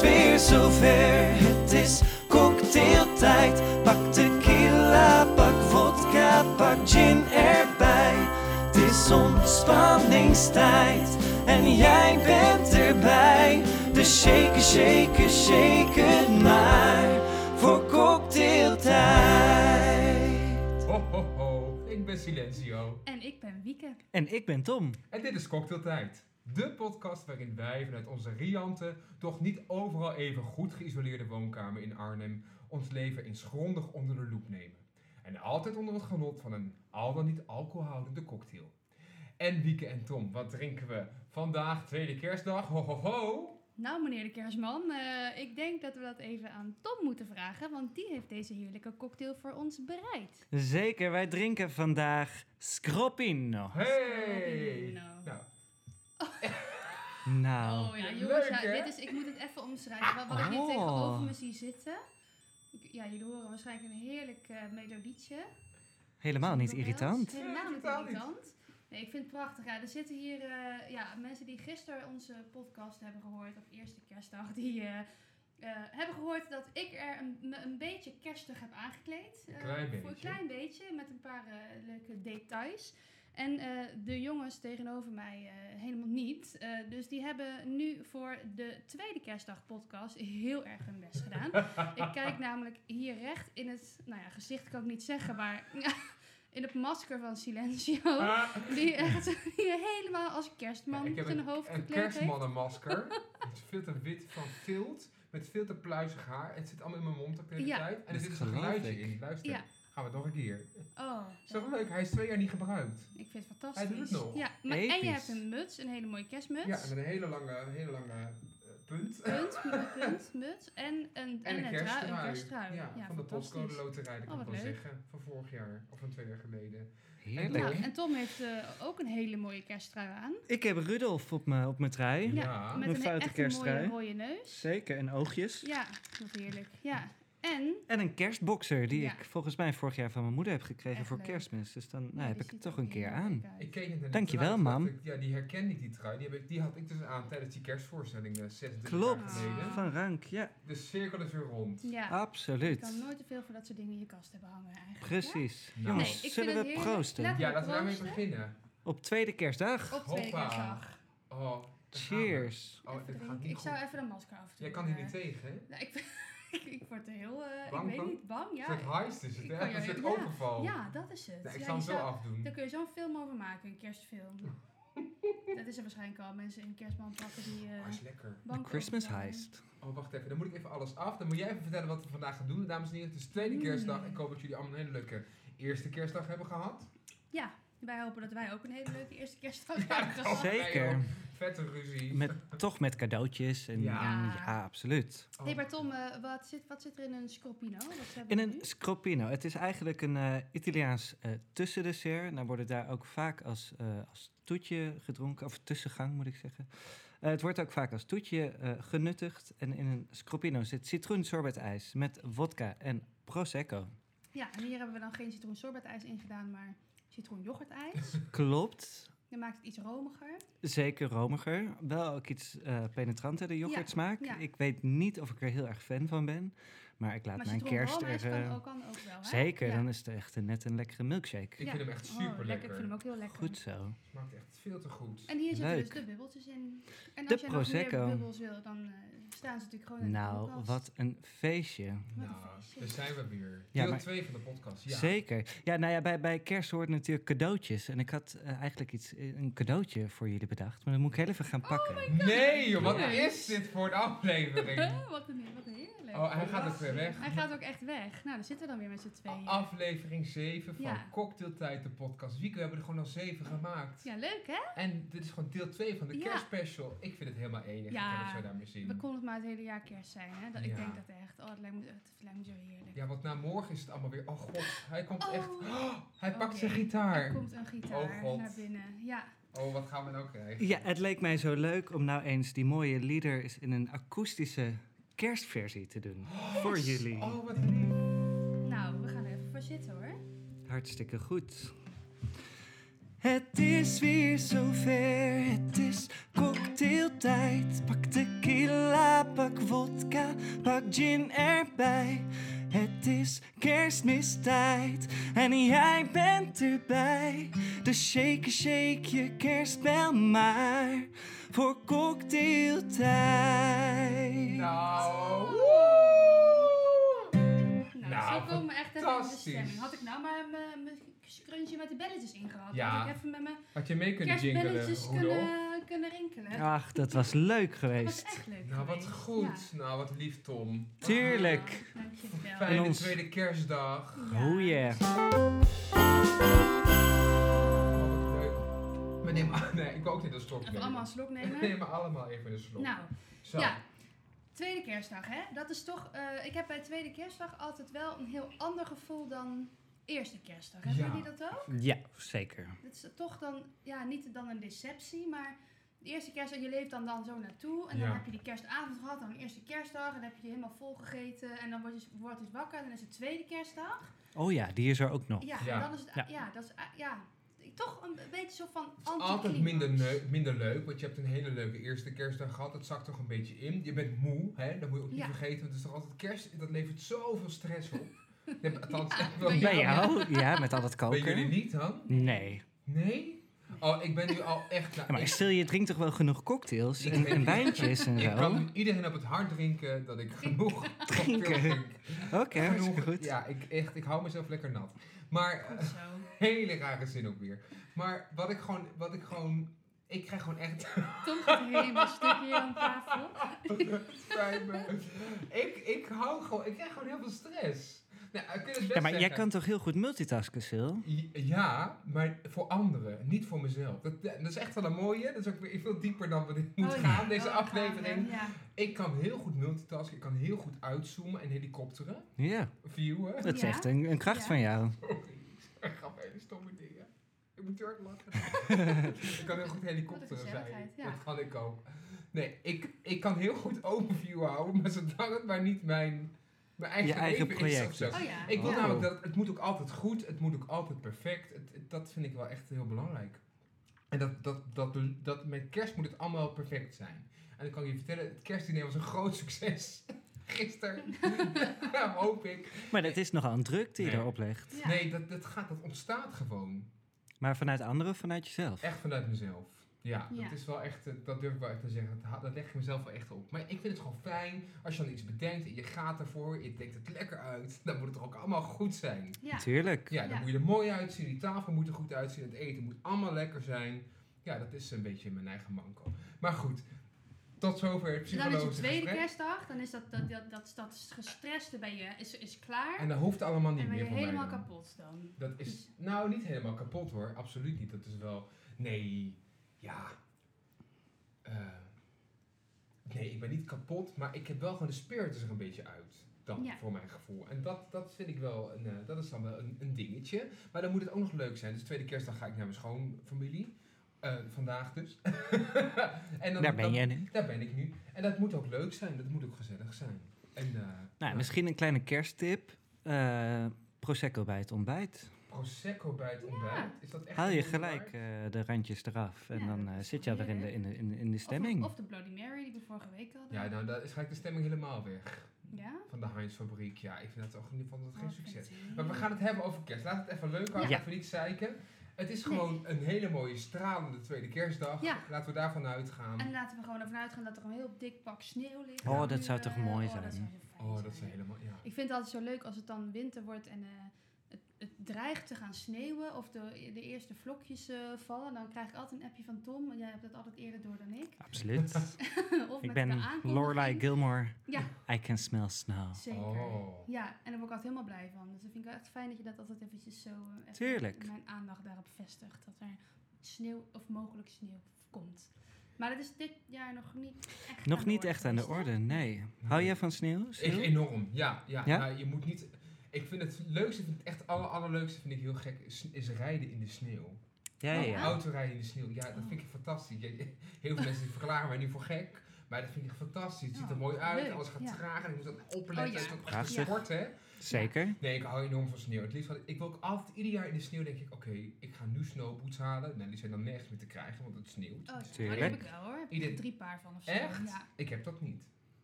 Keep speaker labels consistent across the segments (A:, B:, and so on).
A: weer zover. Het is cocktailtijd. Pak tequila, pak vodka, pak gin erbij. Het is ontspanningstijd en jij bent erbij. Dus shake, shake, shake het maar voor cocktailtijd.
B: Ho, ho, ho. Ik ben Silencio.
C: En ik ben Wieke.
D: En ik ben Tom.
B: En dit is Cocktailtijd. De podcast waarin wij vanuit onze riante, toch niet overal even goed geïsoleerde woonkamer in Arnhem ons leven eens grondig onder de loep nemen. En altijd onder het genot van een al dan niet alcoholhoudende cocktail. En Wieke en Tom, wat drinken we vandaag, tweede kerstdag? Ho, ho, ho.
C: Nou, meneer de Kerstman, eh, ik denk dat we dat even aan Tom moeten vragen, want die heeft deze heerlijke cocktail voor ons bereid.
D: Zeker, wij drinken vandaag Scroppino.
B: Hey! Nou,
C: Nou.
D: Nou,
C: Oh ja, jongens,
B: Leuk,
C: ja,
B: hè?
C: dit is, ik moet het even omschrijven. Wat, wat ik hier
D: Oh.
C: tegenover me zie zitten. Ik- Ja, jullie horen waarschijnlijk een heerlijk eh, melodietje.
D: helemaal niet
C: Jingle bells.
D: irritant.
C: Helemaal
B: Nee,
C: niet
B: totaal niet.
C: irritant. Nee, ik vind het prachtig. Ja, er zitten hier eh, ja, mensen die gisteren onze podcast hebben gehoord, of eerste kerstdag, die eh, eh, hebben gehoord dat ik er een, me een beetje kerstig heb aangekleed.
B: Een
C: Eh,
B: klein
C: Voor een
B: beetje.
C: klein beetje, met een paar eh, leuke details. En eh, de jongens tegenover mij eh, helemaal niet. Eh, dus die hebben nu voor de tweede kerstdag podcast heel erg hun best gedaan. ik kijk namelijk hier recht in het, nou ja, gezicht kan ik niet zeggen, maar in het masker van Silencio.
B: Ah.
C: Die echt die helemaal als kerstman
B: Ja, ik heb
C: zijn hoofd
B: Een
C: gekleed heeft.
B: kerstmannenmasker. het is veel te wit van vilt. Met veel te pluizig haar. Het zit allemaal in mijn mond de hele
C: Ja.
B: tijd. En er
D: Dat
B: zit dus een
D: geloof
B: geluidje
D: ik.
B: in. Luister.
C: Ja.
B: Gaan we nog een keer.
C: Oh,
B: Is toch leuk? Hij is twee jaar niet gebruikt.
C: ik vind het fantastisch.
B: Hij doet het nog.
C: Ja, maar, en je
D: Episch.
C: hebt een muts, een hele mooie kerstmuts.
B: Ja, met een hele lange, hele lange eh, punt.
C: Punt, punt, punt, muts en een, en
B: En een
C: een, trui, een
B: kersttrui.
C: kersttrui.
B: Ja, van de
C: fantastisch.
B: postcode loterij, dat
C: Oh,
B: kan ik
C: wat
B: wel
C: leuk.
B: zeggen. Van vorig jaar, of van twee jaar geleden.
D: Heerlijk.
C: Nou, en Tom heeft eh, ook een hele mooie kersttrui aan.
D: Ik heb Rudolf op mijn op mijn trui.
C: Ja,
B: Ja.
C: met
D: Een
C: een,
D: foute
C: echt
D: kersttrui.
C: mooie rode neus.
D: Zeker, en oogjes.
C: Ja, wat heerlijk. Ja, en
D: En een kerstboxer die
C: Ja.
D: ik volgens mij vorig jaar van mijn moeder heb gekregen
C: Echt
D: voor
C: leuk.
D: kerstmis. Dus dan nou,
C: Ja,
D: heb
C: die
D: ik het
C: ziet
D: toch
C: er
D: een keer
C: heel
D: aan.
C: leuk uit.
B: Ik keek net naar die
D: Dankjewel,
B: trui, dacht
D: mam.
B: ik, Ja, die herkende ik, die trui. Die, heb ik, die had ik dus aan tijdens die kerstvoorstelling eh, 26 jaar
D: Klopt,
B: geleden.
C: Ah.
D: van rank. Ja,
B: De cirkel is weer rond.
C: Ja, je kan
D: absoluut.
C: nooit te veel voor dat soort dingen in je kast hebben hangen eigenlijk. hè?
D: Precies.
B: Ja?
D: Jongens,
C: Nee, ik vind
D: zullen
C: het
D: we
C: heerlijk.
D: proosten?
C: Laten
B: Ja, laten we daarmee
C: proosten.
B: beginnen.
D: Op tweede kerstdag.
C: Op tweede
B: Hoppa.
C: kerstdag.
B: Oh, daar gaan we.
D: Cheers.
B: Oh,
C: Even
B: dit gaat
C: drinken.
B: niet
C: ik zou
B: goed.
C: even een masker afdoen.
B: Jij kan hier
C: eh.
B: niet tegen, hè?
C: Nou, ik, ik word er heel, eh,
B: Bang
C: ik weet
B: van?
C: niet, bang.
B: Ja,
C: Ja,
B: een soort heist is het,
C: ik
B: hè?
C: kan
B: Een
C: jou-
B: soort
C: ja,
B: overval.
C: ja, dat is het.
B: Nou, ik
C: Ja,
B: zal hem
C: je
B: zo
C: zou-
B: afdoen.
C: Daar kun je zo'n film over maken, een kerstfilm. dat is er waarschijnlijk al. Mensen in kerstman pakken die eh
B: Oh, is lekker.
D: De
C: banken
D: Christmas
C: overvallen.
D: heist.
B: Oh, wacht even. Dan moet ik even alles af. Dan moet jij even vertellen wat we vandaag gaan doen, dames en heren. Het is tweede
C: Mm.
B: kerstdag. Ik hoop dat jullie allemaal een hele leuke eerste kerstdag hebben gehad.
C: Ja, wij hopen dat wij ook een hele leuke eerste kerstdag hebben
D: Oh,
C: gehad.
B: Zeker.
D: Zeker.
B: Vette ruzie.
D: Met, toch met cadeautjes. En,
B: Ja.
D: en ja absoluut.
B: Oh.
C: hey, maar Tom, eh, wat, zit, wat zit er in een scroppino? Wat hebben
D: In
C: we
D: een
C: nu?
D: scroppino. Het is eigenlijk een eh, Italiaans eh, tussendessert. Nou worden daar ook vaak als, eh, als toetje gedronken, of tussengang moet ik zeggen. Eh, het wordt ook vaak als toetje eh, genuttigd. En in een scroppino zit citroen sorbetijs met vodka en prosecco.
C: Ja, en hier hebben we dan geen citroen sorbetijs in gedaan, maar citroen yoghurtijs.
D: Klopt.
C: Dan maakt het iets romiger.
D: Zeker romiger. Wel ook iets eh, penetranter, de yoghurtsmaak.
C: Ja, ja.
D: Ik weet niet of ik er heel erg fan van ben. Maar ik laat
C: maar
D: mijn kerst
C: citroenroomijs
D: er... eh,
C: kan ook, kan ook wel, hè?
D: zeker,
C: Ja.
D: dan is het echt een, net een lekkere milkshake.
B: Ik vind hem echt
C: Oh,
B: super
C: lekker. Ik
B: lekker.
C: vind hem ook heel lekker.
D: Goed zo.
B: Smaakt echt veel te goed.
C: En hier zitten
D: Leuk.
C: dus de bubbeltjes in. En
D: De
C: als je nog meer
D: Prosecco.
C: bubbels wil, dan eh, staan ze
B: Oh,
C: natuurlijk gewoon in de
D: Nou,
C: koelkast.
D: wat een feestje.
C: Wat een
B: Nou,
C: feestje.
B: daar zijn we weer.
D: Ja,
B: Deel
D: maar-
B: 2 van de podcast. Ja.
D: Zeker. Ja, nou ja, bij, bij kerst hoort natuurlijk cadeautjes. En ik had eh, eigenlijk iets, een cadeautje voor jullie bedacht. Maar dat moet ik heel even gaan
B: Oh
D: pakken.
B: Nee, joh, wat
C: Ja.
B: is dit voor een aflevering?
C: Huh? Oh, wat, een, wat heerlijk.
B: Oh, hij gaat ook weer weg. Oh,
C: Hij gaat ook echt weg. Nou, dan zitten we dan weer met z'n tweeën.
B: Aflevering 7 van
C: eh, Ja.
B: Cocktailtijd, de podcast. Wieke, we hebben er gewoon al 7 gemaakt.
C: Ja, leuk hè?
B: En dit is gewoon deel 2 van de
C: Ja.
B: kerstspecial. Ik vind het helemaal enig.
C: Ja.
B: Ik heb het zo daarmee
C: We
B: zien.
C: konden het maar het hele jaar kerst zijn. Hè? Dat,
B: Ja.
C: Ik denk dat echt. Oh, het lijkt me, het lijkt me zo heerlijk.
B: Ja, want na morgen is het allemaal weer. Oh god, hij komt
C: Oh.
B: echt. Oh, hij
C: Oh,
B: pakt zijn
C: jee. Er
B: gitaar.
C: komt een
B: Oh,
C: gitaar
B: God.
C: naar binnen. Ja,
B: Oh, wat gaan we nou krijgen?
D: Ja, het leek mij zo leuk om nou eens die mooie lieder eens in een akoestische kerstversie te doen. Voor jullie.
B: Oh, wat lief.
C: nou, we gaan er even voor zitten hoor.
D: Hartstikke goed. Het is weer zover, het is cocktailtijd. Pak tequila, pak vodka,
A: gin erbij. Het is kerstmistijd en jij bent erbij. Dus shake, shake je kerstbel maar voor cocktailtijd.
B: Nou, woe!
C: Nou,
B: Nou,
C: zo komen we echt even in de
B: fantastisch.
C: stemming. Had ik nou maar mijn mijn scrunchie met de belletjes ingehad.
B: Ja.
C: Had ik even met mijn
B: Had je mee kunnen jingelen,
C: kerstbelletjes
B: Rudolf?
C: kunnen, kunnen rinkelen.
D: Ach, dat was leuk
C: Dat was
D: geweest.
C: echt leuk
B: Nou, wat
C: geweest.
B: goed. Nou, wat lief, Tom.
C: Ja.
D: Tuurlijk.
C: Ah, dankjewel.
D: En
B: Fijne
D: ons.
B: tweede kerstdag.
C: Ja.
D: Oh yeah.
B: Oh, wat leuk. We nemen... ah, Nee, ik wil ook niet een slok
C: Even
B: nemen.
C: allemaal een slok
B: We
C: nemen.
B: nemen allemaal even een slok.
C: Nou,
B: Zo.
C: ja. Tweede kerstdag, hè? Dat is toch. eh, ik heb bij tweede kerstdag altijd wel een heel ander gevoel dan eerste kerstdag. Hebben
B: Ja.
C: jullie dat ook?
D: Ja, zeker.
C: Het is toch dan, ja, niet dan een deceptie, maar de eerste kerstdag, je leeft dan, dan zo naartoe. En dan
B: Ja.
C: heb je die kerstavond gehad, dan de eerste kerstdag, en dan heb je je helemaal volgegeten. En dan word je, wordt het wakker, en dan is het tweede kerstdag.
D: Oh ja, die is er ook nog.
C: Ja,
B: Ja.
C: en dan is het,
D: Ja.
C: ja, dat is, eh, ja, toch een beetje zo van
B: Altijd
C: anticlimax.
B: minder, neu- minder leuk, want je hebt een hele leuke eerste kerstdag gehad. Dat zakt toch een beetje in. Je bent moe, hè? dat moet je ook niet
C: Ja.
B: vergeten. Want het is toch altijd kerst, dat levert zoveel stress op. Je hebt, althans,
C: Ja,
B: wel-
C: bij
D: Bij
C: jou, ja.
D: jou? Ja, met al dat
B: bij jullie
D: koken.
B: niet dan?
D: Nee.
B: Nee? Oh, ik ben nu al echt... nou,
D: Ja, maar
B: ik-
D: stil, je drinkt toch wel genoeg cocktails
B: Ik
D: en,
B: weet
D: en
B: niet.
D: wijntjes en
B: Ik kan
D: zo?
B: nu iedereen op het hart drinken dat ik genoeg
D: Drinken.
B: cocktail drink.
D: Oké, hartstikke
B: Genoeg-
D: goed.
B: Ja, ik, echt, ik hou mezelf lekker nat. Maar eh,
C: Goed zo.
B: hele rare zin ook weer. Maar wat ik gewoon, wat ik gewoon, ik krijg gewoon echt
C: Tom gaat helemaal stukje aan tafel.
B: spijt me. Ik, ik hou gewoon, ik krijg gewoon heel veel stress. Nou, ik kan het best
D: Ja, maar jij
B: zeggen.
D: kan toch heel goed multitasken, Sil?
B: Ja, maar voor anderen, niet voor mezelf. Dat, dat is echt wel een mooie. Dat is ook weer veel dieper dan we dit moeten
C: Oh, ja.
B: gaan, deze
C: Oh, gaan we,
B: aflevering.
C: Ja.
B: Ik kan heel goed multitasken, ik kan heel goed uitzoomen en helikopteren,
D: Ja,
B: viewen.
D: dat is
C: Ja.
D: echt een, een kracht
C: Ja.
D: van jou.
B: Ik gaf hele stomme dingen. Ik moet heel erg lachen. ik kan heel goed helikopteren zijn.
C: gezelligheid, ja.
B: Dat kan ik ook. Nee, ik, ik kan heel goed overview houden, maar zolang het maar niet mijn, mijn eigen,
D: Je eigen
B: leven is of
D: project.
B: zo.
C: Oh ja.
B: Ik wil
D: Oh.
B: namelijk dat het moet ook altijd goed, het moet ook altijd perfect. Het, het- dat vind ik wel echt heel belangrijk. En dat, dat, dat, dat, met kerst moet het allemaal perfect zijn. En dan kan ik je vertellen, het kerstdiner was een groot succes. Gisteren. nou, hoop ik.
D: Maar dat is nogal een druk die je
B: Nee.
D: erop legt.
C: Ja.
B: Nee, dat, dat gaat, dat ontstaat gewoon.
D: Maar vanuit anderen of vanuit jezelf?
B: Echt vanuit mezelf. Ja,
C: Ja.
B: dat is wel echt, eh, dat durf ik wel echt te zeggen. Dat, ha- dat leg ik mezelf wel echt op. Maar ik vind het gewoon fijn als je dan iets bedenkt en je gaat ervoor, je denkt het lekker uit, dan moet het toch ook allemaal goed zijn.
C: Ja.
D: Tuurlijk.
B: Ja, dan
C: Ja.
B: moet je er mooi uitzien, die tafel moet er goed uitzien, het eten moet allemaal lekker zijn. Ja, dat is een beetje mijn eigen manco. Maar goed, tot zover het
C: En Dus dan is
B: psychologische
C: het tweede
B: gesprek.
C: kerstdag, dan is dat, dat, dat, dat, dat gestreste bij je is, is klaar.
B: En dat hoeft allemaal niet
C: En ben
B: meer
C: je
B: voor mij
C: helemaal
B: dan.
C: kapot dan.
B: Dat is, nou, niet helemaal kapot hoor. Absoluut niet. Dat is wel, nee, ja. Eh, nee, ik ben niet kapot, maar ik heb wel gewoon de spirit er een beetje uit. Dan,
C: Ja.
B: voor mijn gevoel. En dat, dat vind ik wel, een, eh, dat is dan wel een, een dingetje. Maar dan moet het ook nog leuk zijn. Dus tweede kerstdag ga ik naar mijn schoonfamilie. Eh, vandaag dus. en dan,
D: Daar ben
B: dan-
D: jij nu.
B: Daar ben ik nu. En dat moet ook leuk zijn. Dat moet ook gezellig zijn. En, eh,
D: Nou, misschien een kleine kersttip. Eh, Prosecco bij het ontbijt.
B: Prosecco bij het ontbijt. Is dat echt
D: Haal je
B: een wonder?
D: gelijk eh, de randjes eraf. En
C: Ja,
D: dan
C: dat
D: eh,
C: is
D: zit je
C: wel
D: alweer in de,
C: heerlijk.
D: in, de, in, de- in de stemming.
C: Of, of de Bloody Mary die we vorige week hadden.
B: Ja, nou, daar is gelijk de stemming helemaal weg.
C: Ja?
B: Van de Heinz fabriek. Ja, ik vind dat toch in ieder geval dat geen
C: Oh,
B: succes.
C: fantastisch.
B: Maar we gaan het hebben over kerst. Laat het even leuk houden.
D: Ja.
B: Even niet zeiken. Het is gewoon een hele mooie stralende tweede kerstdag.
C: Ja.
B: Laten we daarvan uitgaan.
C: En laten we gewoon ervan uitgaan dat er een heel dik pak sneeuw ligt.
D: Oh,
C: Nu,
D: dat zou
C: eh,
D: toch mooi
C: oh,
D: zijn.
C: dat zou zo fijn
B: oh, dat is
C: zijn.
B: helemaal. Ja.
C: Ik vind het altijd zo leuk als het dan winter wordt en eh, het, het dreigt te gaan sneeuwen of de, de eerste vlokjes eh, vallen. Dan krijg ik altijd een appje van Tom. Jij hebt dat altijd eerder door dan ik.
D: Absoluut.
C: of
D: ik
C: met de
D: ben
C: aankondiging.
D: Lorelai Gilmore.
C: Ja.
D: I can smell snow.
C: Zeker.
B: Oh.
C: Ja, en daar word ik altijd helemaal blij van. Dus dat vind ik wel echt fijn dat je dat altijd eventjes zo... eh, even
D: Tuurlijk.
C: Mijn aandacht daarop vestigt. Dat er sneeuw of mogelijk sneeuw komt. Maar dat is dit jaar nog niet echt
D: Nog
C: aan de
D: niet echt aan de
C: geweest, hè?
D: orde, nee. Hou jij van sneeuw? Sil?
B: Ik, enorm. Ja, ja.
D: Ja?
B: Nou, je moet niet. Ik vind het leukste, vind het echt alle allerleukste vind ik heel gek, is, is rijden in de sneeuw.
D: Ja, ja, ja.
C: Oh,
B: Autorijden in de sneeuw, ja, dat vind ik fantastisch. Je- je- Heel veel mensen die verklaren mij nu voor gek, maar dat vind ik fantastisch. Het ziet er
C: Ja,
B: mooi uit,
C: Oh, leuk,
B: alles gaat
C: ja.
B: traag en ik moet dan opletten.
C: Oh, ja.
B: Het is ook echt
D: Prachtig.
B: sport, hè?
D: Zeker.
B: Nee, ik hou enorm van sneeuw. Het liefst had ik, ik wil ook altijd, ieder jaar in de sneeuw denk ik, oké, ik ga nu snowboots halen. Nou, die zijn dan nergens meer te krijgen, want het sneeuwt.
C: Oh, ja, maar die
D: Tuurlijk.
C: heb ik wel hoor. Ik heb
B: Ieder-
C: er drie paar van of zo.
B: Echt?
C: Ja.
B: Ik heb dat niet.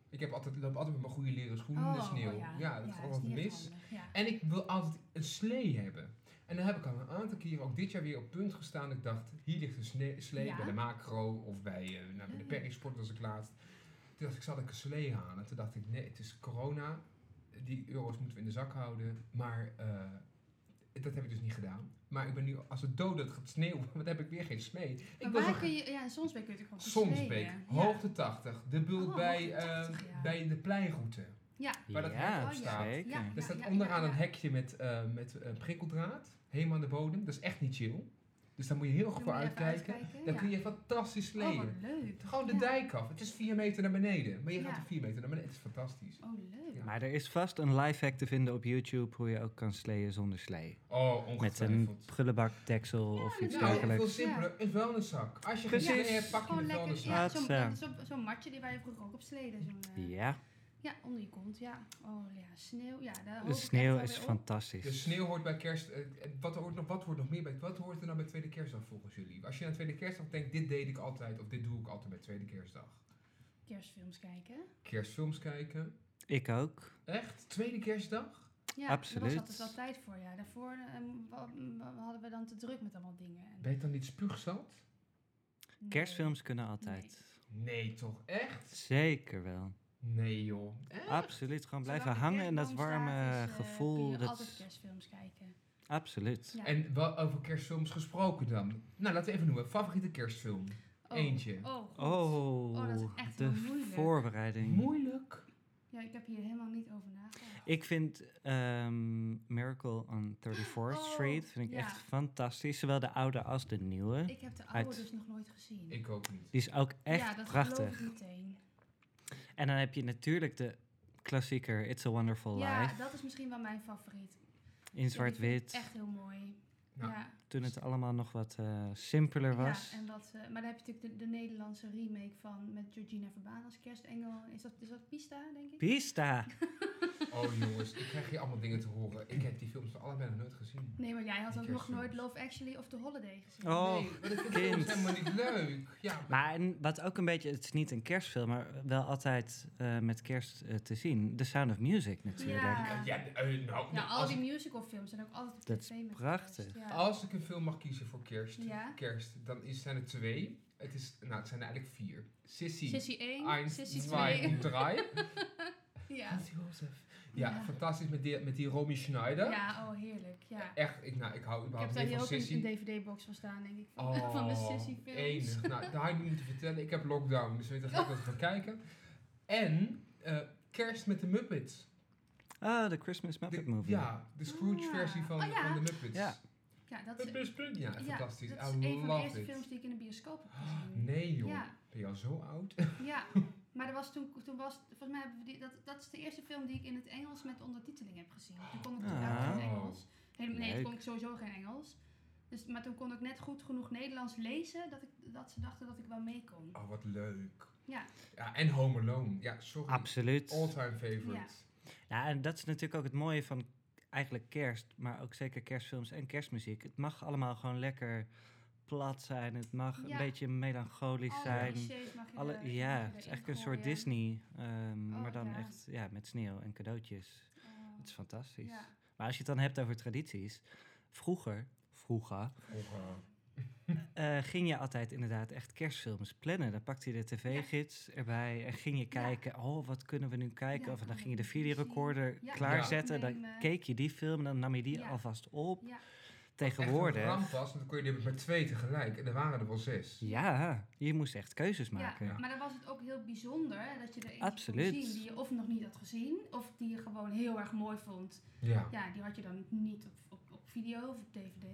B: Ik heb altijd, loop altijd met mijn goede leren schoenen
C: Oh,
B: in de sneeuw. ja. dat gaat
C: is
B: altijd
C: niet echt
B: mis.
C: handig, ja.
B: En ik wil altijd een slee hebben. En dan heb ik al een aantal keren, ook dit jaar weer op punt gestaan. Ik dacht, hier ligt een sne- slee
C: Ja.
B: bij de macro of bij, eh, nou, bij de
C: Ja.
B: Perisport was ik laatst. Toen dacht ik, zal ik een slee halen? Toen dacht ik, nee, het is corona. Die euro's moeten we in de zak houden. Maar eh, dat heb ik dus niet gedaan. Maar ik ben nu, als het dood gaat sneeuwen, want dan heb ik weer geen slee. Ik
C: Maar
B: wil
C: waar
B: zo-
C: kun je, ja, in Sonsbeek kun je natuurlijk gewoon goed
B: Sonsbeek,
C: spelen. Ja.
B: hoogte 80. De bult
C: Oh,
B: bij,
C: hoogte
B: eh,
C: 80, ja.
B: bij de pleinroute.
C: Ja,
B: Waar dat hek
D: ja,
B: op staat.
D: zeker.
C: Ja.
B: Er staat
C: ja,
B: onderaan
C: ja, ja.
B: een hekje met, eh, met eh, prikkeldraad, helemaal aan de bodem. Dat is echt niet chill. Dus daar moet je heel
C: Dan
B: goed
C: moet
B: voor
C: je even
B: uitkijken.
C: uitkijken,
B: Dan
C: ja.
B: kun je fantastisch
C: Oh, wat
B: leven.
C: leuk.
B: Gewoon de
C: Ja.
B: dijk af. Het is 4 meter naar beneden. Maar je gaat
C: Ja.
B: er 4 meter naar beneden. Het is fantastisch.
C: Oh, leuk.
B: Ja.
D: Maar er is vast een lifehack te vinden op YouTube hoe je ook kan sleeën zonder slee.
B: Oh,
D: Met een
B: ongetwijfeld.
D: prullenbak, deksel
C: Ja,
D: of iets
C: natuurlijk.
B: Nou, veel
D: dergelijks.
B: simpeler. Een vuilniszak. Als je geen
D: Precies.
B: zin in hebt, pak je
C: Gewoon
B: een
C: lekker,
B: vuilniszak.
C: ja, zo'n
D: Ja.
C: zo'n- zo'n matje die waar je vroeger ook op sleden. Zo'n, eh,
D: Ja,
C: ja, onder je kont, ja. Oh ja, sneeuw. Ja, daar hoop ik
D: de
C: echt
D: sneeuw
C: wel
D: is
C: weer op.
D: fantastisch.
B: De sneeuw hoort bij kerst. eh, wat, hoort nog, wat hoort nog meer bij? Wat hoort er nou bij tweede kerstdag volgens jullie? Als je aan tweede kerstdag denkt, dit deed ik altijd of dit doe ik altijd bij tweede kerstdag.
C: Kerstfilms kijken.
B: Kerstfilms kijken.
D: Ik ook.
B: Echt? Tweede kerstdag?
C: Ja,
D: Absoluut.
C: daar was altijd wel tijd voor. Ja. Daarvoor eh, wa- wa- hadden we dan te druk met allemaal dingen. En-
B: Ben je dan niet spuugzat?
C: nee.
D: Kerstfilms kunnen altijd.
B: Nee, toch? Echt?
D: Zeker wel.
B: Nee, joh. Echt?
D: Absoluut. Gewoon
C: Zolang
D: blijven
C: de
D: hangen en dat
C: kerstboom staat,
D: warme
C: is, eh,
D: gevoel.
C: Kun je
D: Dat
C: altijd
D: is-
C: kerstfilms kijken.
D: absoluut.
C: Ja.
B: En wel over kerstfilms gesproken dan. Nou, laten we even noemen. Favoriete kerstfilm?
C: Oh,
B: Eentje.
C: Oh, goed.
D: Oh,
C: Oh, dat is echt
D: de
C: wel moeilijk.
D: voorbereiding.
B: Moeilijk.
C: Ja, ik heb hier helemaal niet over nagedacht.
D: Ik vind ehm, Miracle on 34th
C: Oh,
D: Street vind ik
C: ja.
D: echt fantastisch. Zowel de oude als de nieuwe.
C: Ik heb de oude
D: Uit-
C: dus nog nooit gezien.
B: Ik ook niet.
D: Die is ook echt
C: ja, dat
D: prachtig.
C: geloof ik meteen.
D: En dan heb je natuurlijk de klassieker It's a Wonderful
C: Ja,
D: Life.
C: dat is misschien wel mijn
D: In
C: favoriet. Ja, die vind ik
D: zwart-wit.
C: Echt heel mooi.
B: Nou,
C: ja.
D: Toen het allemaal nog wat eh, simpeler was.
C: Ja, en wat, eh, maar dan heb je natuurlijk de, de Nederlandse remake van met Georgina Verbaan als kerstengel. Is dat, is dat Pista, denk ik?
D: Pista!
B: Oh, jongens. Ik krijg hier allemaal dingen te horen. Ik heb die films van allebei nog nooit gezien.
C: Nee, maar jij had
B: Die
C: ook nog
B: kerstfilms.
C: nooit Love Actually of The Holiday gezien.
D: Oh,
B: nee, maar dat vind ik
D: kind.
B: films helemaal niet leuk. Ja.
D: Maar en wat ook een beetje, het is niet een kerstfilm, maar wel altijd eh, met kerst eh, te zien. The Sound of Music natuurlijk.
C: Ja.
B: Ja, ja, eh, nou, nou,
C: Ja, al
B: als,
C: die musicalfilms zijn ook altijd op
D: Dat
C: tv
D: is
C: met kerst,
D: prachtig.
C: Ja.
B: als ik een film mag kiezen voor kerst,
C: Ja.
B: kerst dan is, zijn er twee. Het, is, nou, het zijn er eigenlijk vier. Sissy,
C: Sissy 1,
B: Eins,
C: Sissy
B: Zwei
C: 2.
B: en Drei.
C: Ja.
B: Hans Jozef. Ja,
C: Ja.
B: fantastisch met die, met die Romy Schneider.
C: ja, oh heerlijk. Ja.
B: Echt, ik, nou, ik hou
C: Ik heb
B: überhaupt
C: daar
B: niet
C: hier
B: van
C: ook een,
B: Sissy.
C: een dvd-box van staan, denk ik. Van,
B: Oh,
C: van de Sissy-films.
B: enig. Nou, daar had ik niet moeten vertellen. Ik heb lockdown, dus weet je, daar ga ik wat van kijken. En eh, Kerst met de Muppets.
D: Ah, de Christmas Muppet
B: De,
D: Movie.
B: ja, de Scrooge-versie
C: Ah,
B: van,
C: oh ja.
B: van de Muppets.
D: Ja.
C: Ja, dat is,
B: Muppets, Muppets. Ja,
C: ja,
B: fantastisch.
C: dat is
B: I
C: een van de
B: love
C: eerste
B: it.
C: films die ik in de bioscoop heb gezien.
B: Nee joh,
C: Ja.
B: ben je al zo oud?
C: Ja, maar er was toen, toen was, volgens mij hebben we die, dat, dat is de eerste film die ik in het Engels met ondertiteling heb gezien. Toen kon ik toen
D: Ah.
C: uit in het Engels. Helemaal, nee,
D: Leuk.
C: toen kon ik sowieso geen Engels. Dus, maar toen kon ik net goed genoeg Nederlands lezen dat, ik, dat ze dachten dat ik wel mee kon.
B: Oh, wat leuk.
C: Ja.
B: Ja, en Home Alone. Ja, sorry.
D: Absoluut.
B: All-time favorite.
D: Ja, en dat is natuurlijk ook het mooie van eigenlijk kerst, maar ook zeker kerstfilms en kerstmuziek. Het mag allemaal gewoon lekker plat zijn. Het mag
C: Ja.
D: een beetje melancholisch
C: Alle
D: zijn.
C: clichés mag je
D: Alle,
C: er-
D: Oh, ja,
C: mag je
D: het is eigenlijk
C: erin
D: een soort
C: gooien.
D: Disney, ehm,
C: Oh,
D: maar dan
C: ja.
D: echt ja, met sneeuw en cadeautjes.
C: Oh,
D: Het is fantastisch.
C: ja.
D: Maar als je het dan hebt over tradities, vroeger, vroeger
B: Of, eh,
D: eh, ging je altijd inderdaad echt kerstfilms plannen. Dan pakte je de tv-gids erbij en ging je kijken, oh, wat kunnen we nu kijken?
C: Ja,
D: of dan
C: kan
D: ging je
C: ik
D: de
C: nu zien?
D: videorecorder
C: Ja, eh,
D: klaarzetten, dan
C: opnemen.
D: keek je die film en dan nam je die
C: Ja.
D: alvast op.
C: Ja.
B: Echt een ramp
D: Tegenwoordig,
B: was, want dan kon je dit met twee tegelijk. En er waren er wel zes.
D: ja, je moest echt keuzes maken.
C: Ja, maar dan was het ook heel bijzonder hè, dat je er eentje
D: Absoluut.
C: kon zien die je of nog niet had gezien, of die je gewoon heel erg mooi vond.
B: Ja.
C: Ja, die had je dan niet op, op, op video of op dvd.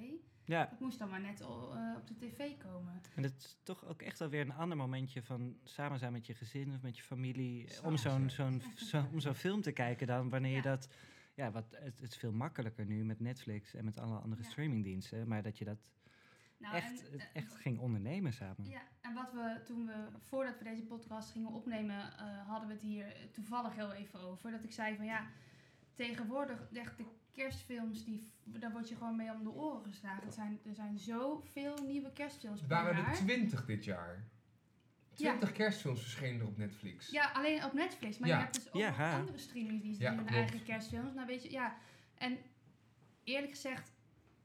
D: Ja,
C: Het moest dan maar net o- eh, op de tv komen.
D: en dat is toch ook echt wel weer een ander momentje van samen zijn met je gezin of met je familie. eh, om
B: Samen
D: zo'n
B: zijn.
D: zo'n zo, om zo'n film te kijken dan, wanneer
C: Ja.
D: je dat... Ja, wat, het, het is veel makkelijker nu met Netflix en met alle andere
C: Ja.
D: streamingdiensten. Maar dat je dat
C: Nou,
D: echt,
C: en, eh,
D: echt ging ondernemen samen.
C: Ja, en wat we toen we, voordat we deze podcast gingen opnemen, eh, hadden we het hier toevallig heel even over. Dat ik zei van ja, tegenwoordig echt de kerstfilms, die, daar word je gewoon mee om de oren geslagen. Er zijn, er zijn zoveel nieuwe kerstfilms
B: Er
C: per
B: waren er
C: jaar.
B: twintig dit jaar. 20 kerstfilms verschenen er op Netflix.
C: Ja, alleen op Netflix. Maar
B: Ja.
C: je hebt dus ook
D: Ja,
C: nog
D: ha.
C: andere streamingsdiensten
B: Ja,
C: die hun
B: klopt.
C: eigen kerstfilms. Nou, weet je, ja. En eerlijk gezegd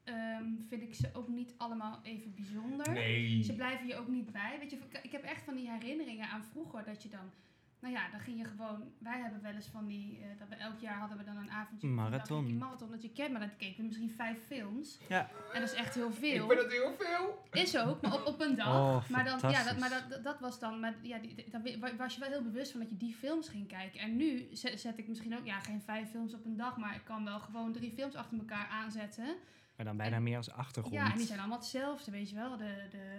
C: ehm, vind ik ze ook niet allemaal even bijzonder.
B: Nee.
C: Ze blijven je ook niet bij. Weet je, ik heb echt van die herinneringen aan vroeger dat je dan... Nou ja, dan ging je gewoon... Wij hebben wel eens van die... eh, dat we elk jaar hadden we dan een avondje...
D: Marathon.
C: dan ging ik Een marathon dat je kent, maar dan keken we misschien vijf films.
D: Ja.
C: En dat is echt heel
B: Ik
C: veel.
B: ben het heel veel.
C: Is ook, maar op, op een dag.
D: Oh,
C: maar dan, ja, dat,
D: fantastisch.
C: maar dat- dat, dat was dan. Maar ja, die, die- dan wi- wa- was je wel heel bewust van dat je die films ging kijken. En nu ze- zet, ik misschien ook, ja, geen vijf films op een dag, maar ik kan wel gewoon drie films achter elkaar aanzetten.
D: Maar dan bijna
C: En-
D: meer als achtergrond.
C: Ja, en die zijn allemaal hetzelfde, weet je wel. De, de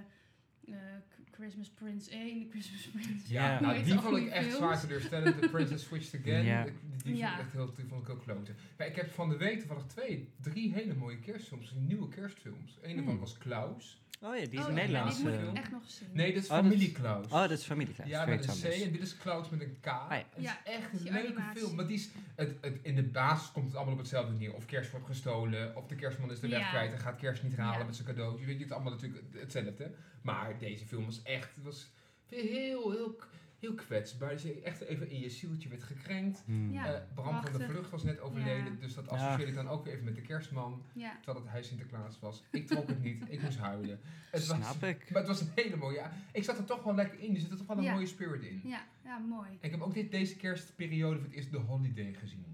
C: eh, K- Christmas Prince 1, de Christmas Prince.
B: Ja,
D: Ja.
B: nou,
C: Weet
B: die
C: al
B: vond ik
C: die
B: echt
C: films.
B: zwaar teleurstellend. The Princess Switched Again.
D: Ja.
B: Die, die vond
C: Ja.
B: ik echt heel, die vond ik heel kloten. Maar ik heb van de week toevallig twee, drie hele mooie kerstfilms. dus Nieuwe kerstfilms. Een daarvan
D: Hmm.
B: was Klaus.
D: Oh ja, die is
C: Oh,
D: een
C: ja,
D: Nederlandse.
C: Die moet
B: film.
C: ik echt nog eens zien.
B: eh. Nee, dus- dat is
D: Oh, dat is-
B: Familie Klaus.
D: Oh, dat is familieklaar.
B: Ja, met een C en dit is Klaus met een K. Het is
C: Ja,
B: echt een
C: die
B: leuke
C: animatie.
B: film. Maar die is, het, het, in de basis komt het allemaal op hetzelfde neer. Of kerst wordt gestolen, of de kerstman is de weg
C: Ja.
B: kwijt en gaat kerst niet halen
C: Ja.
B: met zijn cadeautje. Je weet je, het is allemaal natuurlijk hetzelfde. Maar deze film was echt, was heel, heel, heel kwetsbaar. Dus je echt even in je zieltje werd gekrenkt.
D: Hmm.
C: Ja,
B: Eh, Bram van
C: prachtig.
B: der Vlucht was net overleden,
C: Ja.
B: dus dat
D: Ja.
B: associeer ik dan ook weer even met de kerstman.
C: Ja.
B: Terwijl het hij Sinterklaas was. Ik trok het niet, ik moest huilen. Het was,
D: Snap ik.
B: maar het was een hele mooie. ja, Ik zat er toch wel lekker in, er zit er toch wel een
C: Ja.
B: mooie spirit in.
C: Ja, ja, mooi.
B: En ik heb ook dit, deze kerstperiode voor het eerst The Holiday gezien.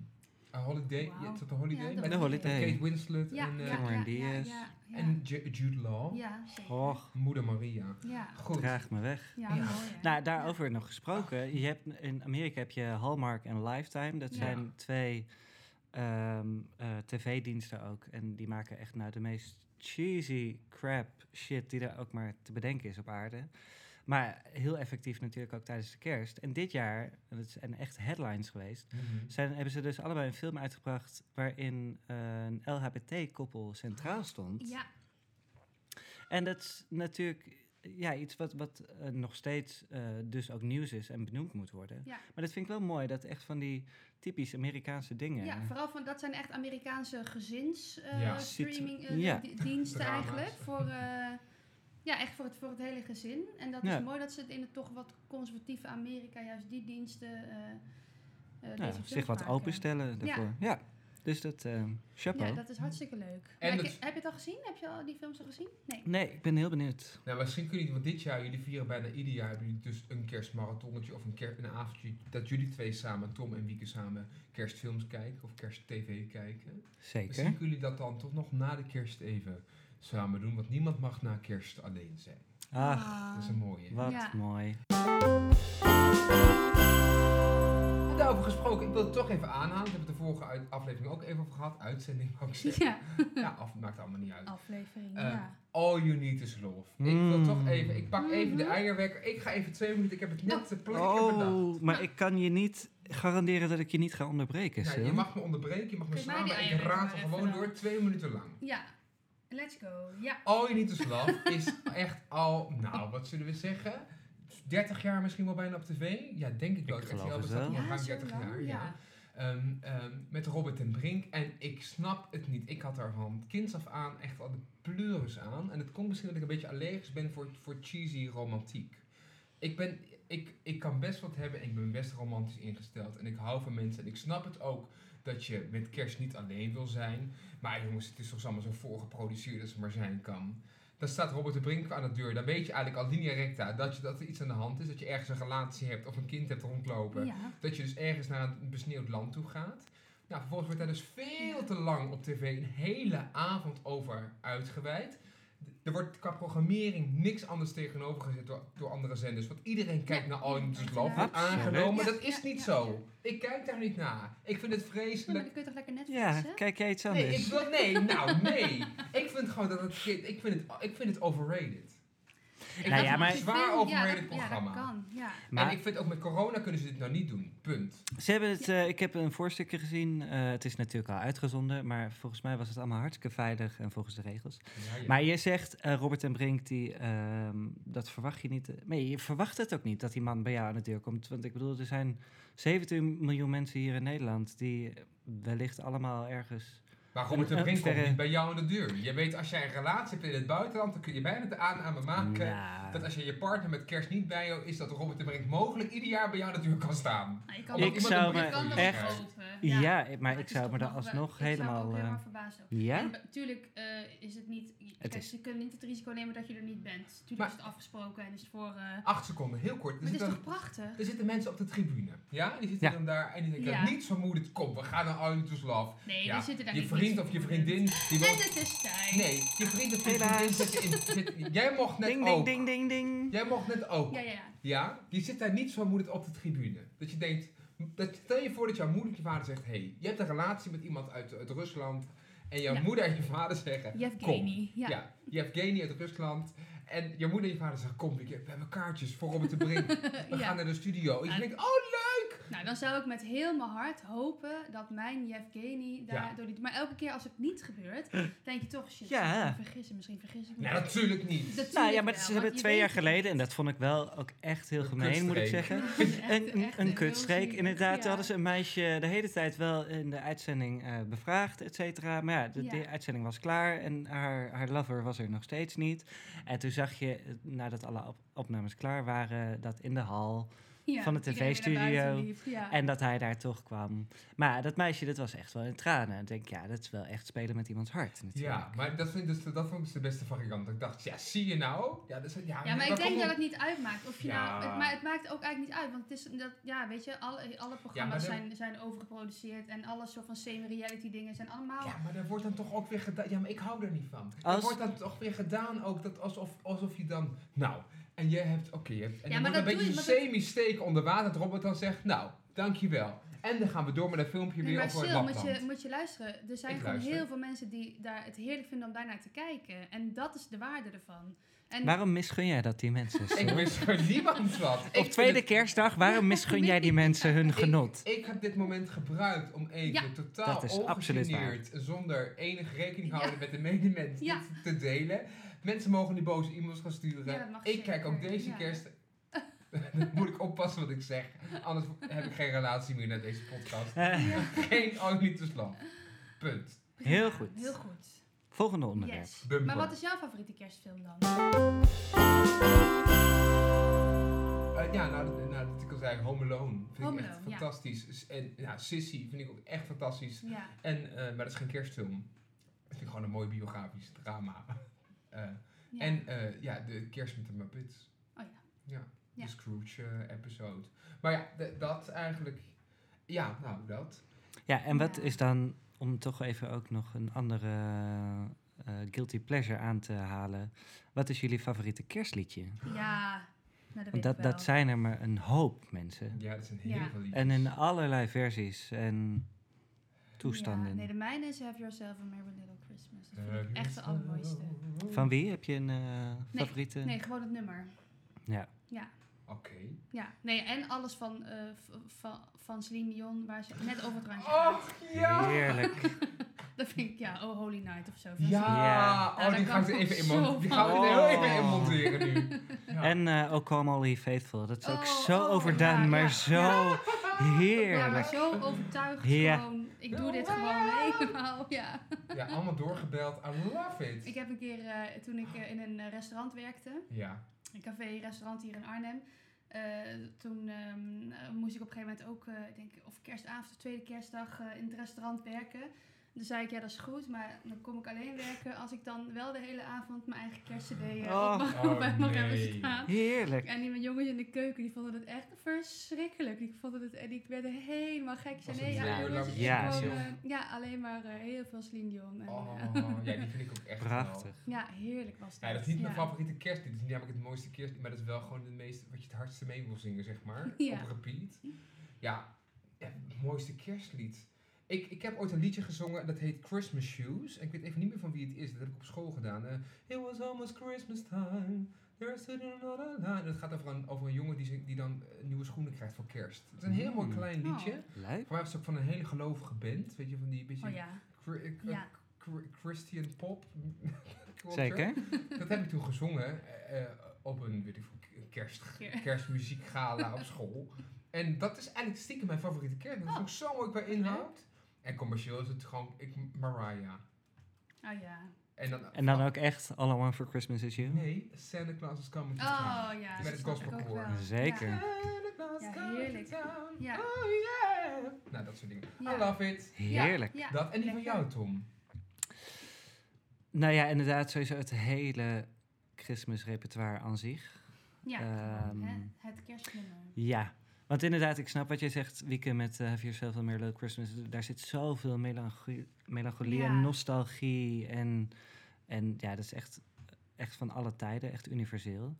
B: A Holiday,
C: Wauw.
B: ja, is dat The Holiday?
C: Ja,
D: En
B: Met
D: de holiday.
B: Kate Winslet
C: Ja,
B: en, eh,
C: ja, ja,
D: Cameron
C: ja, ja,
D: Diaz.
C: ja, ja.
B: en Ju- Jude Law.
C: Ja, zeker.
D: Och,
B: Moeder Maria.
C: Ja,
B: Goed.
D: draag me weg.
C: ja,
B: Ja.
C: mooi. hè?
D: Nou, daarover nog gesproken. Je hebt, in Amerika heb je Hallmark en Lifetime. Dat
C: Ja.
D: zijn twee ehm, eh, tv-diensten ook. En die maken echt nou de meest cheesy crap shit die er ook maar te bedenken is op aarde. Maar heel effectief natuurlijk ook tijdens de kerst. En dit jaar, en het zijn echt headlines geweest...
B: Mhm.
D: Zijn, hebben ze dus allebei een film uitgebracht waarin eh, een LHBT-koppel centraal stond.
C: Ja,
D: En dat is natuurlijk ja, iets wat, wat eh, nog steeds eh, dus ook nieuws is en benoemd moet worden.
C: Ja.
D: Maar dat vind ik wel mooi, dat echt van die typisch Amerikaanse dingen. eh,
C: Ja, vooral van dat zijn echt Amerikaanse gezins eh,
B: Ja.
C: streaming eh,
D: Ja.
C: di- diensten
B: Drama's.
C: eigenlijk. Voor, eh, ja, echt voor het, voor het hele gezin. En dat
D: Ja.
C: is mooi dat ze het in het toch wat conservatieve Amerika juist die diensten eh, eh, deze
D: Nou,
C: films
D: zich wat
C: maken.
D: openstellen daarvoor. Ja. Dus dat, eh chapeau.
C: Ja, dat is hartstikke leuk.
B: En
C: Maar
B: het-
C: ik- heb je het al gezien? Heb je al die films al gezien? Nee.
D: Nee, ik ben heel benieuwd.
B: Nou, misschien kunnen jullie, want dit jaar, jullie vieren bijna ieder jaar, hebben jullie dus een kerstmarathonnetje of een, ker- een avondje dat jullie twee samen, Tom en Wieke, samen kerstfilms kijken of kersttv kijken.
D: Zeker.
B: Misschien kunnen jullie dat dan toch nog na de kerst even samen doen, want niemand mag na kerst alleen zijn.
D: Ach,
C: Ah.
B: Dat is een mooie.
D: wat
C: Ja.
D: mooi.
B: En Daarover gesproken, ik wil het toch even aanhalen. Ik heb het de vorige uit- aflevering ook even over gehad. Uitzending ook zeggen.
C: Ja,
B: Ja, af, maakt allemaal niet uit.
C: aflevering,
B: Eh,
C: ja.
B: All you need is love. Ik wil
D: Mm.
B: toch even, ik pak even de
C: Mhm.
B: eierwekker. Ik ga even twee minuten, ik heb het net te plek, ik heb het bedacht.
D: Oh, maar ik kan je niet garanderen dat ik je niet ga onderbreken,
B: Ja,
D: Sil.
B: je mag me onderbreken, je mag me
C: Geef mij
B: slaan,
C: die
B: maar ik
C: eieren
B: raad
C: maar
B: er
C: even
B: gewoon
C: dan.
B: door twee minuten lang.
C: Ja, let's go. Ja,
B: All You Need Is Love is echt al, nou wat zullen we zeggen, 30 jaar misschien wel bijna op tv? Ja, denk ik wel.
D: Ik
B: RTL
D: geloof het
B: bestaat
D: wel.
B: al
C: ja,
B: ruim
C: zo
B: 30
C: lang,
B: jaar, ja.
C: ja.
B: Ehm, ehm, met Robert en Brink. En ik snap het niet. Ik had daar van kinds af aan echt al de pleuris aan. En het komt misschien dat ik een beetje allergisch ben voor, voor cheesy romantiek. Ik, ben, ik, ik kan best wat hebben en ik ben best romantisch ingesteld. En ik hou van mensen. En ik snap het ook dat je met kerst niet alleen wil zijn. Maar jongens, het is toch allemaal zo voorgeproduceerd als het maar zijn kan. Dan staat Robert de Brink aan de deur. Dan weet je eigenlijk al linea recta dat, je, dat er iets aan de hand is. Dat je ergens een relatie hebt of een kind hebt rondlopen.
C: ja.
B: Dat je dus ergens naar een besneeuwd land toe gaat. Nou, vervolgens wordt daar dus veel te lang op tv een hele avond over uitgewijd. D- Er wordt qua programmering niks anders tegenover gezet door, door andere zenders. Want iedereen kijkt
C: Ja,
B: naar All You Need Is
C: inderdaad.
B: Love, wordt
D: Absoluut.
B: aangenomen.
C: Ja,
B: Dat is
C: ja,
B: niet
C: ja,
B: zo. Ik kijk daar niet naar. Ik vind het
C: Maar
B: vreselijk.
C: dan kun je toch lekker net
D: Ja, kijk jij iets anders?
B: Nee, ik wil, nee, nou nee. Ik vind gewoon dat het, ik vind het, ik vind het overrated. Ik
D: Nou
B: vind
D: ja,
B: het
D: maar-
B: een zwaar overrated
C: Ja, dat
B: programma.
C: kan, ja.
D: maar
B: En ik vind ook met corona kunnen ze dit nou niet doen. Punt.
D: Ze hebben het, eh, ik heb een voorstukje gezien. Eh, het is natuurlijk al uitgezonden, maar volgens mij was het allemaal hartstikke veilig en volgens de regels.
B: Ja, ja.
D: Maar je zegt, eh, Robert en Brink, die, ehm, dat verwacht je niet. eh, Nee, je verwacht het ook niet dat die man bij jou aan de deur komt. Want ik bedoel, er zijn 17 miljoen mensen hier in Nederland die wellicht allemaal ergens
B: Maar Robert de
D: Eh,
B: Brink komt
D: verre-
B: niet bij jou aan de deur. Je weet, als jij een relatie hebt in het buitenland, dan kun je bijna de aan aan me maken.
D: Nou,
B: Ah, Dat als je je partner met kerst niet bij jou is, dat Robert de Brink mogelijk ieder jaar bij jou aan de deur kan staan.
C: Nou, je kan
D: Ik
C: dat-
D: zou
C: je
D: me
C: kan dat
D: echt-
C: geloven.
D: ja, maar
C: het
D: ik
C: is
D: zou
C: toch
D: me daar
C: nog wel-
D: alsnog
C: Ik zou me
D: helemaal...
C: ook
D: eh,
C: helemaal verbaasd over.
D: ja?
C: En natuurlijk eh, is het niet... kijk,
D: is-
C: Ze kunnen niet het risico nemen dat je er niet bent. Natuurlijk
B: Maar- Ah,
C: is het afgesproken en is het voor... eh, maar
B: Acht seconden, heel kort. Er
C: het is
B: zitten,
C: toch prachtig?
B: er zitten mensen op de tribune. Ja? Die zitten
D: Ja.
B: dan daar en die denken,
C: Ja.
B: niet zo moeilijk, kom, we gaan naar Island to Love.
C: Nee,
B: Ja,
C: die zitten daar
B: Je
C: niet
B: vriend
C: niet
B: of je
C: voor.
B: vriendin, die
C: En
B: woont...
C: het is tijd.
B: Nee, je vriend of je vriendin
D: Helaas.
B: zit in... zit- jij mocht net
D: Ding,
B: ook.
D: ding, ding, ding, ding.
B: Jij mocht net ook.
C: Ja, ja, ja.
B: Ja, die zit daar niet zo moeilijk op de tribune. Dat je denkt, dat, stel je voor dat jouw moeder of je vader zegt, hey, je hebt een relatie met iemand uit, uit Rusland. En jouw
C: Ja.
B: moeder en je vader zeggen,
C: Yevgeny. Ja.
B: ja. Yevgeny uit Rusland. En jouw moeder en je vader zeggen, kom, ik heb- we hebben kaartjes voor Robert te brengen. We
C: eh, Ja.
B: gaan naar de studio. En je
C: Ja.
B: denkt, oh leuk!
C: Nou, dan zou ik met heel mijn hart hopen dat mijn Yevgeny daar
B: Ja.
C: door die... Maar elke keer als het niet gebeurt, denk je toch, shit,
D: Ja.
C: misschien vergis ik, misschien vergis ik me.
B: Nee, natuurlijk niet.
C: Natuurlijk
D: Nou ja, maar
C: wel,
D: ze
C: want
D: hebben
C: je
D: twee
C: weet
D: jaar
C: het.
D: geleden, en dat vond ik wel ook echt heel
B: Een
D: gemeen, moet ik
B: kutstreek.
D: zeggen.
C: Echt-
D: Een, een,
C: echt
D: een
C: heel
D: kutstreek,
C: zielig.
D: inderdaad.
C: Ja.
D: Toen hadden ze een meisje de hele tijd wel in de uitzending eh, bevraagd, et cetera. Maar ja, de,
C: Ja.
D: de uitzending was klaar en haar, haar lover was er nog steeds niet. En toen zag je, eh, nadat alle op- opnames klaar waren, dat in de hal...
C: Ja,
D: van de
C: iedereen weer
D: TV
C: naar buiten
D: studio.
C: liep, Ja.
D: En dat hij daar toch kwam. Maar dat meisje, dat was echt wel in tranen. Ik denk, ja, dat is wel echt spelen met iemands hart. Natuurlijk.
B: Ja, maar dat vind, ik dus, dat vond ik dus de beste variant. Ik dacht, ja, zie je nou? Ja, dat is, ja,
C: Ja, maar
B: dan
C: ik denk
B: komt
C: dat
B: het-
C: het niet uitmaakt. Of je
B: Ja.
C: nou, het, maar het maakt ook eigenlijk niet uit. Want het is dat, ja, weet je, alle, alle programma's
B: dan-
C: zijn, zijn overgeproduceerd. En alle soort van semi-reality dingen zijn allemaal.
B: Ja, maar er wordt dan toch ook weer gedaan. Ja, maar ik hou er niet van. Er
D: Als-
B: wordt dan toch weer gedaan ook dat alsof, alsof je dan. Nou, en jij hebt. Oké, je hebt. En
C: Ja,
B: dan
C: maar
B: wordt
C: dat
B: een beetje
C: doe
B: een
C: je- maar dat-
B: semi-steek onder water. Dat Robert dan zegt. Nou, dankjewel. En dan gaan we door met een filmpje
C: Nee,
B: weer
C: maar
B: over het
C: Sil, moet je,
B: lapland.
C: moet je luisteren. Er zijn
B: Ik
C: gewoon
B: luister.
C: heel veel mensen die daar het heerlijk vinden om daarnaar te kijken. En dat is de waarde ervan. En
D: Waarom misgun jij dat die mensen? Sil?
B: Ik wist van niemand wat. Ik
D: Op
B: vind
D: tweede
B: het-
D: kerstdag, waarom misgun jij die mensen hun genot?
B: Ik, ik heb dit moment gebruikt om even
C: Ja.
B: totaal
D: Dat is absoluut
B: ongegeneerd, zonder enig rekening
C: Ja.
B: houden met de medemens dit
C: Ja.
B: te delen. Mensen mogen die boze e-mails gaan sturen.
C: Ja, dat mag
B: ik kijk ook
C: zeker,
B: deze
C: ja.
B: kerst. Dan moet ik oppassen wat ik zeg. Anders heb ik geen relatie meer naar deze podcast.
D: Eh,
C: Ja,
B: geen Only to Slam. Punt.
C: prima.
D: Heel goed.
C: Heel goed.
D: volgende onderwerp.
C: Yes.
B: Bumper.
C: Maar wat is jouw favoriete kerstfilm dan?
B: Eh, ja, nou, dat- nou, dat ik al zei, Home Alone vind
C: Home
B: ik echt
C: Alone, ja.
B: fantastisch. S- En ja, Sissy vind ik ook echt fantastisch.
C: Ja.
B: En, eh, maar dat is geen kerstfilm. Dat vind ik gewoon een mooi biografisch drama. Eh,
C: ja.
B: En eh, ja, de kerst met de Muppets.
C: Oh ja.
B: Ja,
C: Ja.
B: de Scrooge-episode. maar ja, d- dat eigenlijk... Ja, nou, dat.
D: Ja, en wat
C: Ja.
D: is dan, om toch even ook nog een andere eh, guilty pleasure aan te halen. Wat is jullie favoriete kerstliedje?
C: ja. Nou, dat weet
D: Want
C: ik
D: dat,
C: wel.
D: dat zijn er maar een hoop mensen.
B: Ja, dat zijn heel
C: Ja.
B: veel liedjes.
D: En in allerlei versies en toestanden.
C: Ja, nee, de mijne is Have Yourself a Merry Little Christmas. Dat
B: Have
C: vind ik echt de
B: yourself
C: allermooiste.
B: a-
D: Van wie heb je een eh, favoriete?
C: Nee, gewoon het nummer.
D: Ja.
B: Oké.
C: Ja, nee, en alles van, eh, v- van, van Celine Dion, waar ze net over het randje gaat.
B: Och, ja!
D: Heerlijk.
C: Dat vind ik, ja, Oh Holy Night of zo.
B: Ja!
D: Ja.
B: Oh,
C: Nou,
B: die
C: daar
B: ga ik
C: kan
B: er even in
C: zo
B: monteren. Die gaan we
D: van.
B: er heel even in
D: Oh.
B: monteren nu. Ja.
D: En eh O Come All Ye Faithful. Dat is ook
C: Oh,
D: zo
C: oh,
D: overdaan,
C: ja,
D: maar
C: ja.
D: zo
C: Ja, maar
D: heerlijk.
C: zo overtuigd
D: Ja.
C: gewoon. Ik doe dit gewoon helemaal, ja.
B: Ja, allemaal doorgebeld. I love it.
C: Ik heb een keer, eh, toen ik eh, in een eh, restaurant werkte,
B: Ja.
C: een café-restaurant hier in Arnhem. eh, toen ehm, eh, moest ik op een gegeven moment ook, eh, ik denk of kerstavond of tweede kerstdag, eh, in het restaurant werken. Toen zei ik, ja dat is goed, maar dan kom ik alleen werken als ik dan wel de hele avond mijn eigen kerstcd eh,
D: Oh.
C: op mag,
B: Oh,
C: op mijn mag hebben
B: nee.
C: staan.
D: Heerlijk.
C: En die mijn jongens in de keuken, die vonden het echt verschrikkelijk. Die vonden het, en ik werd er helemaal gek. Ik zei,
B: Was het
C: nee, ja,
B: nou,
C: jongens,
B: lang-
C: ik
D: Ja,
C: gewoon,
D: joh.
C: eh, ja, alleen maar eh, heel veel Celine Dion. En, eh,
B: Oh, ja, die vind ik ook echt wel.
D: Prachtig.
C: ja, heerlijk was dat.
B: Ja, dat is niet mijn
C: Ja.
B: favoriete kerst. Dit is niet namelijk het mooiste kerst, maar dat is wel gewoon het meest wat je het hardste mee wil zingen, zeg maar.
C: Ja.
B: Op repeat. Ja, ja, het mooiste kerstlied. Ik, ik heb ooit een liedje gezongen dat heet Christmas Shoes. En ik weet even niet meer van wie het is. Dat heb ik op school gedaan. Eh, It was almost Christmas time. There's another line. En het gaat over een, over een jongen die, zing- die dan eh, nieuwe schoenen krijgt voor kerst. Het is een heel mooi
D: Mm.
B: klein liedje.
C: Oh.
D: Leuk.
B: Voor mij was het ook van een hele gelovige band. Weet je, van die beetje
C: Oh ja.
B: chri- eh,
C: Ja.
B: chri- Christian pop. culture.
D: Zeker.
B: Dat heb ik toen gezongen eh, eh, op een weet ik veel, kerst,
C: Keer.
B: kerstmuziekgala op school. En dat is eigenlijk stiekem mijn favoriete kerst. Dat is
C: Oh.
B: ook zo mooi qua inhoud. En commercieel is het gewoon ik, Mariah.
C: Oh ja.
B: En dan,
D: En dan ook echt All I Want For Christmas Is You?
B: Nee, Santa Claus is coming to town.
C: Oh ja.
B: Met
C: dat
B: het Dus
C: snap
B: gospel
C: ik ook
B: koor.
C: wel.
D: Zeker.
C: Ja.
B: Santa Claus
C: Ja,
B: coming to
C: heerlijk.
B: town.
C: Ja.
B: Oh yeah. Nou, dat soort dingen.
C: Ja.
B: I love it.
C: Ja,
D: Heerlijk.
C: ja,
B: dat en die van
C: lekker.
B: jou, Tom.
D: Nou ja, inderdaad, sowieso het hele Christmas repertoire aan zich.
C: Ja,
D: Ehm,
C: hè, het kerstnummer.
D: Ja, want inderdaad, ik snap wat jij zegt, Wieke, met eh, Have Yourself a Merry Little Christmas. Daar zit zoveel melancholie, melancholie
C: Ja.
D: en nostalgie en, en ja, dat is echt, echt van alle tijden, echt universeel.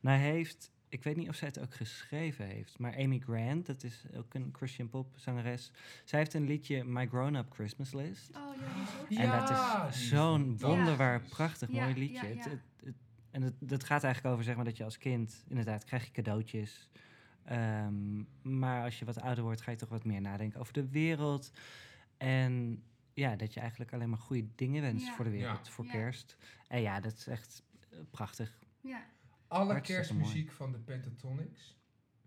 D: Nou heeft, ik weet niet of zij het ook geschreven heeft, maar Amy Grant, dat is ook een Christian pop zangeres. Zij heeft een liedje My Grown Up Christmas List.
C: Oh ja, die is ook.
B: Ja,
D: en dat
B: die
D: is
B: is
D: zo'n
B: fantastisch.
D: wonderbaar, prachtig
C: Ja,
D: mooi
C: ja,
D: liedje. Het-
C: ja.
D: het- het- en het, dat gaat eigenlijk over zeg maar, dat je als kind, inderdaad, krijg je cadeautjes. Ehm, maar als je wat ouder wordt, ga je toch wat meer nadenken over de wereld. En ja, dat je eigenlijk alleen maar goede dingen wenst
C: Ja.
D: voor de wereld,
B: Ja.
D: voor
C: Ja.
D: kerst. En ja, dat is echt eh, prachtig.
C: Ja,
B: Alle
D: Hartstikke
B: kerstmuziek van de Pentatonics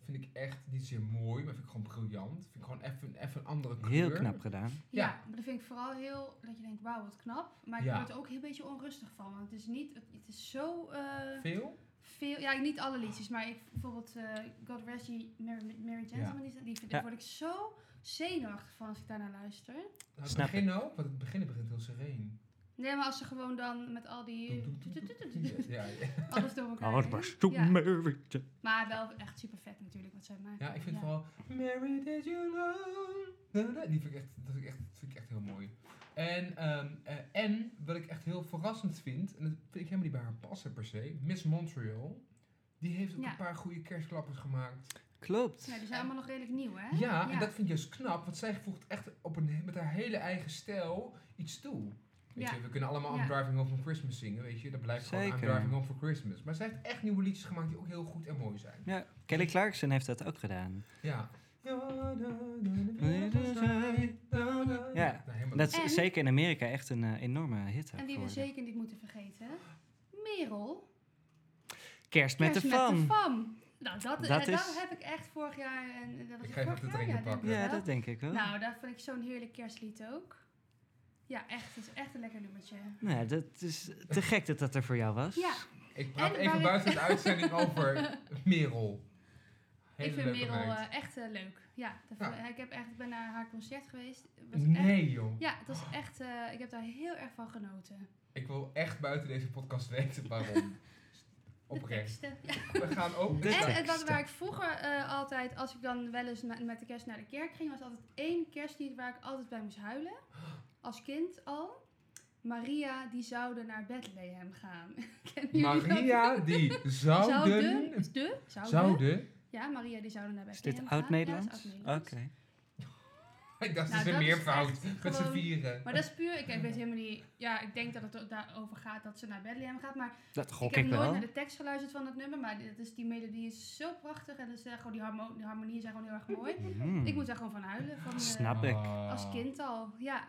B: vind ik echt niet zeer mooi, maar vind ik gewoon briljant. Vind ik gewoon even even een andere kleur.
D: Heel knap gedaan.
C: ja.
B: Ja.
C: maar dat vind ik vooral heel, dat je denkt, wauw, wat knap. Maar ik
B: Ja.
C: word er ook heel beetje onrustig van, want het is niet, het, het is zo eh,
B: Veel? Nou,
C: veel, ja, niet alle liedjes, maar ik, bijvoorbeeld eh, God Rest Ye Mary, Mary Gentleman, die, die, daar
D: Ja.
C: word ik zo zenuwachtig van als ik daarnaar luister.
B: Nou, het
D: Snap
B: begin ook, want het begin begint heel sereen.
C: Nee, maar als ze gewoon dan met al die,
B: Ja, ja.
C: alles door elkaar
D: Oh,
C: heen.
D: was toen
C: Ja.
D: Mary Jo-
C: Maar wel echt super vet natuurlijk wat zij maken.
B: Ja, ik vind vooral Mary did you know? Da, da, da. Die vind ik echt, dat vind ik echt, dat vind ik echt heel mooi. En, ehm, eh, en wat ik echt heel verrassend vind, en dat vind ik helemaal niet bij haar passen per se, Miss Montreal, die heeft ook
C: Ja.
B: een paar goede kerstklappers gemaakt.
D: Klopt.
C: Ja, Dus nou, die zijn allemaal nog redelijk nieuw, hè?
B: Ja, en dat vind ik juist knap, want zij voegt echt op een, met haar hele eigen stijl iets toe. Weet
C: Ja.
B: je, we kunnen allemaal
C: Ja.
B: I'm Driving Home for Christmas zingen, weet je, dat blijft gewoon I'm
D: Zeker.
B: Driving Home for Christmas. Maar zij heeft echt nieuwe liedjes gemaakt die ook heel goed en mooi zijn.
D: Ja, Kelly Clarkson heeft dat ook gedaan.
B: Ja.
D: Ja.
B: Nou, helemaal
D: Dat is
C: En-
D: zeker in Amerika echt een eh, enorme hit.
C: En die we
D: geworden.
C: zeker niet moeten vergeten. Merel.
D: Kerst met
C: Kerst
D: de fam.
C: fam. Nou, dat,
D: Dat
C: eh,
D: is-
C: daar heb ik echt vorig jaar... En, eh, dat was
B: Ik
C: het
B: ga even
C: vorig
B: de
C: jaar?
B: trein
C: ja, denk
B: pakken.
C: ik
D: Ja,
C: wel.
D: dat denk ik wel.
C: Nou, daar vind ik zo'n heerlijk kerstlied ook. Ja, echt. Het is echt een lekker nummertje.
D: Nou, dat is te gek dat dat er voor jou was.
C: Ja,
B: Ik praat
C: En
B: even
C: waar ik-
B: buiten de uitzending over Merel. Hele
C: ik vind
B: leuke
C: Merel
B: meid.
C: eh, echt eh, leuk. Ja, dat
B: Ja.
C: vond- ik heb echt, ik ben naar haar concert geweest. Het was echt,
B: nee joh.
C: ja, het was echt... eh, ik heb daar heel erg van genoten.
B: Ik wil echt buiten deze podcast weten waarom.
C: De
B: Oprecht.
C: teksten. Ja.
B: We gaan ook.
D: De
B: Ja.
C: En het was
D: teksten.
C: waar ik vroeger eh, altijd, als ik dan wel eens met, met de kerst naar de kerk ging, was altijd één kerstlied waar ik altijd bij moest huilen. Als kind al. Maria, die zouden naar Bethlehem gaan. Kennen jullie dat?
B: Maria die zouden.
C: Zouden. is De? Zouden.
B: Zouden.
C: Ja, Maria, die zouden naar
D: Is
C: Bethlehem
D: dit
C: gaan.
D: oud-Nederlands?
C: Ja, dat is
D: Oké.
C: oud-Nederlands.
B: Ik dacht,
C: Nou,
B: ze zijn
C: dat is
B: meervoud.
C: echt
B: Met z'n
C: gewoon-
B: vieren.
C: Maar dat is puur, ik weet helemaal niet, ja, ik denk dat het er daarover gaat dat ze naar Bethlehem gaat, maar
D: Dat gok
C: ik
D: ik,
C: heb nooit
D: wel.
C: naar de tekst geluisterd van het nummer, maar dat is, die melodie is zo prachtig en dat is, eh, gewoon die, harmo die harmonieën zijn gewoon heel erg mooi.
D: Mm.
C: Ik moet daar gewoon van huilen. Van, eh,
D: Snap ik.
B: Ah.
C: als kind al, ja.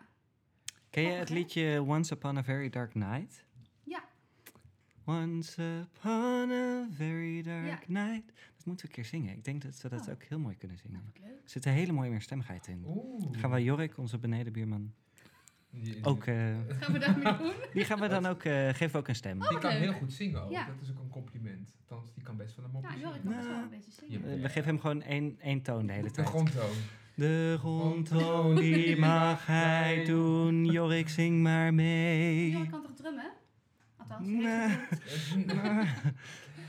D: Ken je het
C: grappig, hè?
D: liedje Once Upon a Very Dark Night?
C: Ja.
D: Once upon a very dark night. Dat moeten we een keer zingen. Ik denk dat we dat
C: Oh.
D: ook heel mooi kunnen
C: Nou,
D: zingen.
C: wat leuk.
D: Er zit een hele mooie meerstemmigheid in.
B: Oeh.
D: Gaan we Jorik, onze benedenbuurman,
B: Die-
D: ook... eh,
C: Gaan we daarmee doen?
D: die gaan we dan ook... eh, geven we ook een stem.
B: Die kan
C: Oh, leuk.
B: heel goed zingen ook.
C: Ja.
B: Dat is ook een compliment. Althans, die kan best wel een mopje
C: Ja, joh, ik
B: zingen.
C: kan best wel
D: Nou.
C: een beetje
B: Ja.
C: zingen.
D: Eh, we geven hem gewoon één, één toon de hele
B: De
D: tijd.
B: grondtoon.
D: De grondtoon die mag hij doen, Jorik zing maar
C: Joh,
D: mee.
C: ik kan toch drummen? Althans,
D: Nee.
C: nee.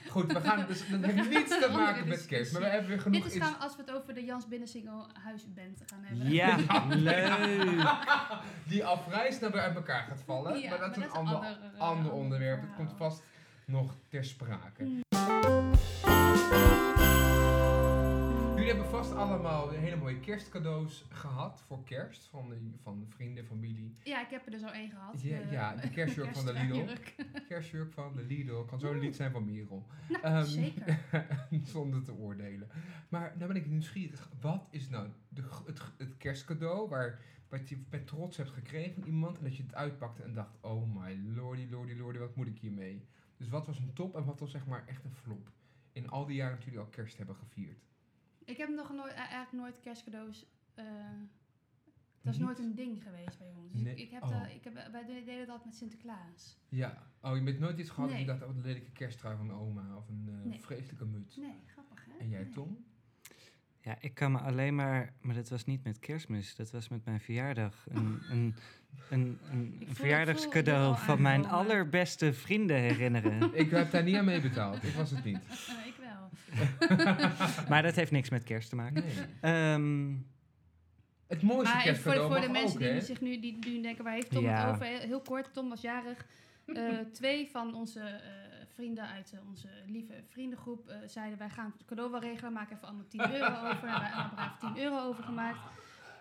B: Goed, we gaan dus dat
C: We
B: heeft
C: gaan
B: niets te
C: een
B: maken
C: andere
B: met kerst, maar
C: discussie.
B: we hebben weer genoeg
C: Dit is
B: ins-
C: gaan als we het over de Jans Binnensingel huisband gaan hebben.
D: Ja, leuk.
B: die al vrij snel weer uit elkaar gaat vallen.
C: Ja,
B: maar dat is een
C: een
B: ander,
C: eh,
B: ander onderwerp. Dat
C: verhaal.
B: komt vast nog ter sprake.
C: Mm.
B: Jullie hebben vast allemaal hele mooie kerstcadeaus gehad voor kerst van, de- van vrienden, familie.
C: Ja, ik heb er dus al één gehad.
B: Ja,
C: de-
B: ja, de kerstjurk van de Lidl.
C: kerstjurk.
B: Kerstjurk van de Lidl kan zo'n lied zijn van Merel.
C: Nou,
B: Ehm,
C: zeker.
B: Zonder te oordelen. Maar nou ben ik nieuwsgierig. Wat is nou de, g- het, g- het kerstcadeau waar, wat je met trots hebt gekregen van iemand en dat je het uitpakte en dacht, oh my lordy, lordy, lordy, wat moet ik hiermee? Dus wat was een top en wat was zeg maar echt een flop? In al die jaren dat jullie al kerst hebben gevierd.
C: Ik heb nog nooit, eh, eigenlijk nooit kerstcadeaus eh, Dat is
B: Niet?
C: nooit een ding geweest bij ons. Dus
B: Nee.
C: Ik, ik heb
B: Oh.
C: dat- ik heb, wij deden dat altijd met Sinterklaas.
B: Ja. Oh, je bent nooit iets gehad dat
C: Nee.
B: je dacht, oh, een lelijke kersttrui van oma. Of een eh,
C: Nee.
B: vreselijke muts.
C: Nee, grappig hè?
B: En jij,
C: Nee.
B: Tom?
D: Ja, ik kan me alleen maar, maar dat was niet met kerstmis, dat was met mijn verjaardag. Een, een, een, een
C: voel- ik voel
D: verjaardagscadeau
C: het al
D: van mijn
C: aankomen.
D: allerbeste vrienden herinneren.
B: Ik heb daar niet aan mee betaald. Ik was het niet.
C: Eh, ik wel.
D: maar dat heeft niks met kerst te maken.
B: Nee.
D: Ehm,
B: Het mooiste
C: Maar even voor,
B: kerstcadeau
C: voor de
B: mag
C: mensen
B: ook,
C: die
B: hè?
C: zich nu, die, nu denken, waar heeft Tom
D: Ja.
C: het over? Heel, heel kort, Tom was jarig. Eh, twee van onze eh, vrienden uit eh, onze lieve vriendengroep eh, zeiden, wij gaan het cadeau wel regelen, maak even allemaal 10 euro over. En wij hebben er 10 euro over gemaakt.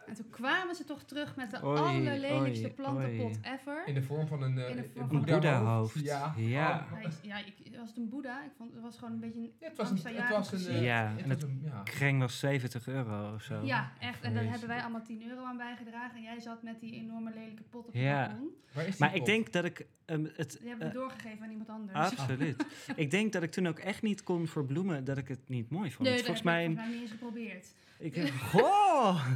C: En toen kwamen ze toch terug met de
D: Oei,
C: allerlelijkste
D: oei,
C: plantenpot
D: oei.
C: ever.
B: In de vorm van een, eh,
C: In de vorm
B: een
C: van-
B: boeddha-hoofd.
D: Boeddha-hoofd.
B: Ja.
D: Ja.
B: Oh.
C: Hij is- ja, ik, was het een boeddha? Ik vond, het was gewoon een beetje een...
B: Ja, het was een... Het was een eh,
D: Ja,
B: het
D: en
B: was een, ja.
D: kreng was 70 euro of zo.
C: Ja, echt. En daar
D: Jezus.
C: hebben wij allemaal 10 euro aan bijgedragen. En jij zat met die enorme lelijke pot op je
D: Ja.
C: balkon.
B: Waar is die
D: Maar ik
B: pot?
D: denk dat ik ehm, het...
C: Die hebben
D: eh, ah,
C: we doorgegeven aan iemand anders.
D: absoluut. ik denk dat ik toen ook echt niet kon voor bloemen dat ik het niet mooi vond. Dus
C: Nee, dat
D: volgens
C: heb
D: mij...
C: ik volgens mij niet eens geprobeerd.
D: Ik heb... Goh!